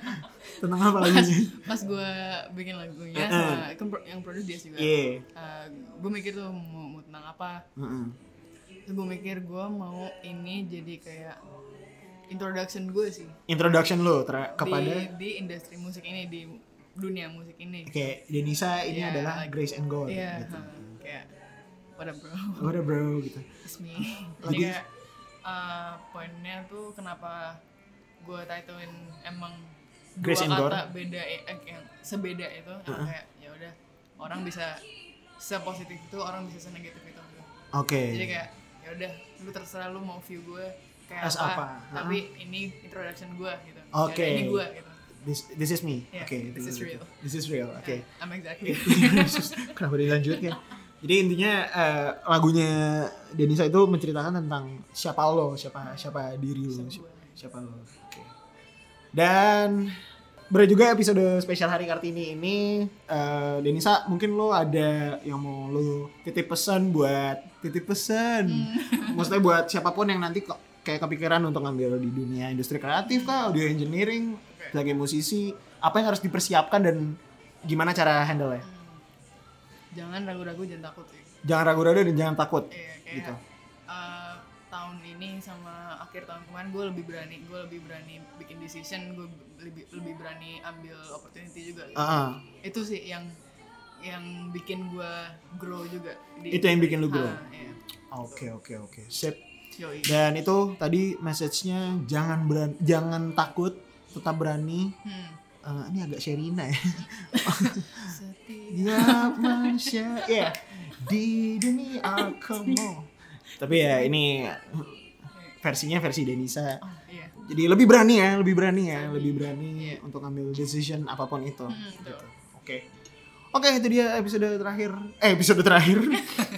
Tentang apa lagunya?
pas gue bikin lagunya
Ah,
sama kan pro- yang produce dia juga
Iya.
gue mikir tuh mau, mau tentang apa
Heeh.
Terus gue mikir gue mau ini jadi kayak introduction gue sih
Introduction lu tra-
di,
kepada
di industri musik ini di dunia musik ini
kayak Denisa ini
Iya,
adalah
like-
Grace and Gore
iya
gitu.
ha, kayak what up bro
Oh, udah bro gitu.
it's me
Lagi-
jadi kayak eh, poinnya tuh kenapa gue titlein emang
Grace and
dua
Gore.
kata beda eh, yang sebeda itu yang kayak ya udah orang bisa sepositif itu orang bisa senegatif itu
Oke.
jadi kayak ya udah lu terserah lu mau view gue kayak
As
apa,
apa,
tapi ini introduction gue gitu Ya
Oke.
udah, ini gue gitu
This, this is me.
Iya,
Oke.
this is real.
This is real. Oke.
I'm exactly
Kenapa dilanjutin? Jadi intinya eh, lagunya Denisa itu menceritakan tentang siapa lo, siapa siapa diri lo, siapa, siapa lo. Oke. Dan berat juga episode spesial hari Kartini ini eh, Denisa mungkin lo ada yang mau lo titip pesan buat titip pesan. Maksudnya buat siapapun yang nanti kok kayak kepikiran untuk ngambil di dunia industri kreatif kah, audio engineering, sebagai musisi, apa yang harus dipersiapkan dan gimana cara handle-nya?
jangan ragu-ragu jangan takut sih
jangan ragu-ragu dan jangan takut.
Iya, kayak
Gitu.
uh, tahun ini sama akhir tahun kemarin gue lebih berani, gue lebih berani bikin decision, gue lebih lebih berani ambil opportunity juga. gitu.
Heeh.
Itu sih yang yang bikin gue grow juga.
Itu yang bikin lu grow?
Ah, iya.
Oke oke oke. Sip.
Yoi.
Dan itu tadi message-nya jangan beran, jangan takut, tetap berani.
Hmm.
Eh, ini agak Sherina ya.
Setia.
Ya manusia, ya di dunia kamu. Tapi ya ini versinya versi Denisa.
Oh, iya.
Jadi lebih berani ya, lebih berani ya,
Berani.
lebih berani
Iya.
untuk ambil decision apapun itu.
Hmm,
Gitu.
betul.
Oke. Oke, itu dia episode terakhir. Eh, episode terakhir.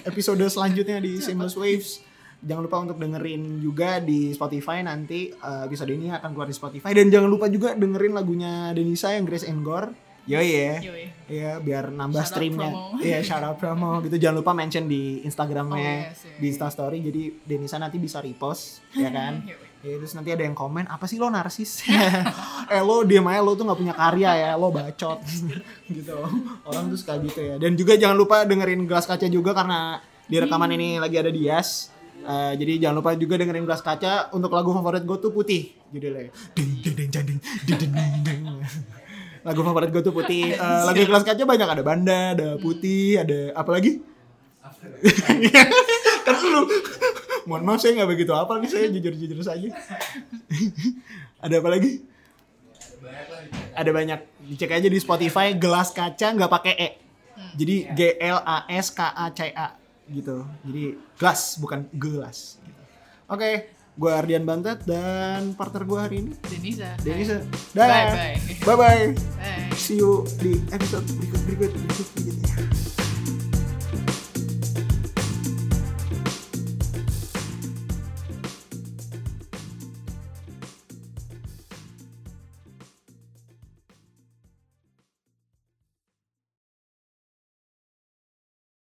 episode selanjutnya di Seamless Waves. Jangan lupa untuk dengerin juga di Spotify nanti eh, episode ini akan keluar di Spotify dan jangan lupa juga dengerin lagunya Denisa yang Grace and Gore. Yo ya.
Yoi.
Iya, biar nambah
Shout out
streamnya.
promo.
Iya, shout out promo gitu. Jangan lupa mention di Instagramnya,
Oh, yes, yes.
di Instastory. Jadi Denisa nanti bisa repost, ya kan?
Yoi.
Ya, terus nanti ada yang komen, apa sih lo narsis? eh lo diem aja, lo tuh gak punya karya ya, lo bacot. gitu, orang tuh suka gitu ya. Dan juga jangan lupa dengerin Gelas Kaca juga karena di rekaman ini lagi ada Dias. Eh, jadi jangan lupa juga dengerin Gelas Kaca untuk lagu favorit gue tuh putih. Judulnya. Ding, ding, ding, ding, ding, ding, ding, ding, ding. lagu favorit gue tuh putih. Eh, lagu Gelas Kaca banyak, ada Banda, ada Putih, ada apa lagi? kan lu mohon maaf saya nggak begitu apa nih saya jujur-jujur saja ada apa lagi ada banyak dicek aja di Spotify gelas kaca nggak pakai e jadi G L A S K A C A gitu jadi gelas bukan gelas gitu. oke gue Ardian Bantet dan partner gue hari ini
Denisa.
Denisa
Bye bye.
bye bye
Bye.
see you di episode berikut berikut berikut berikutnya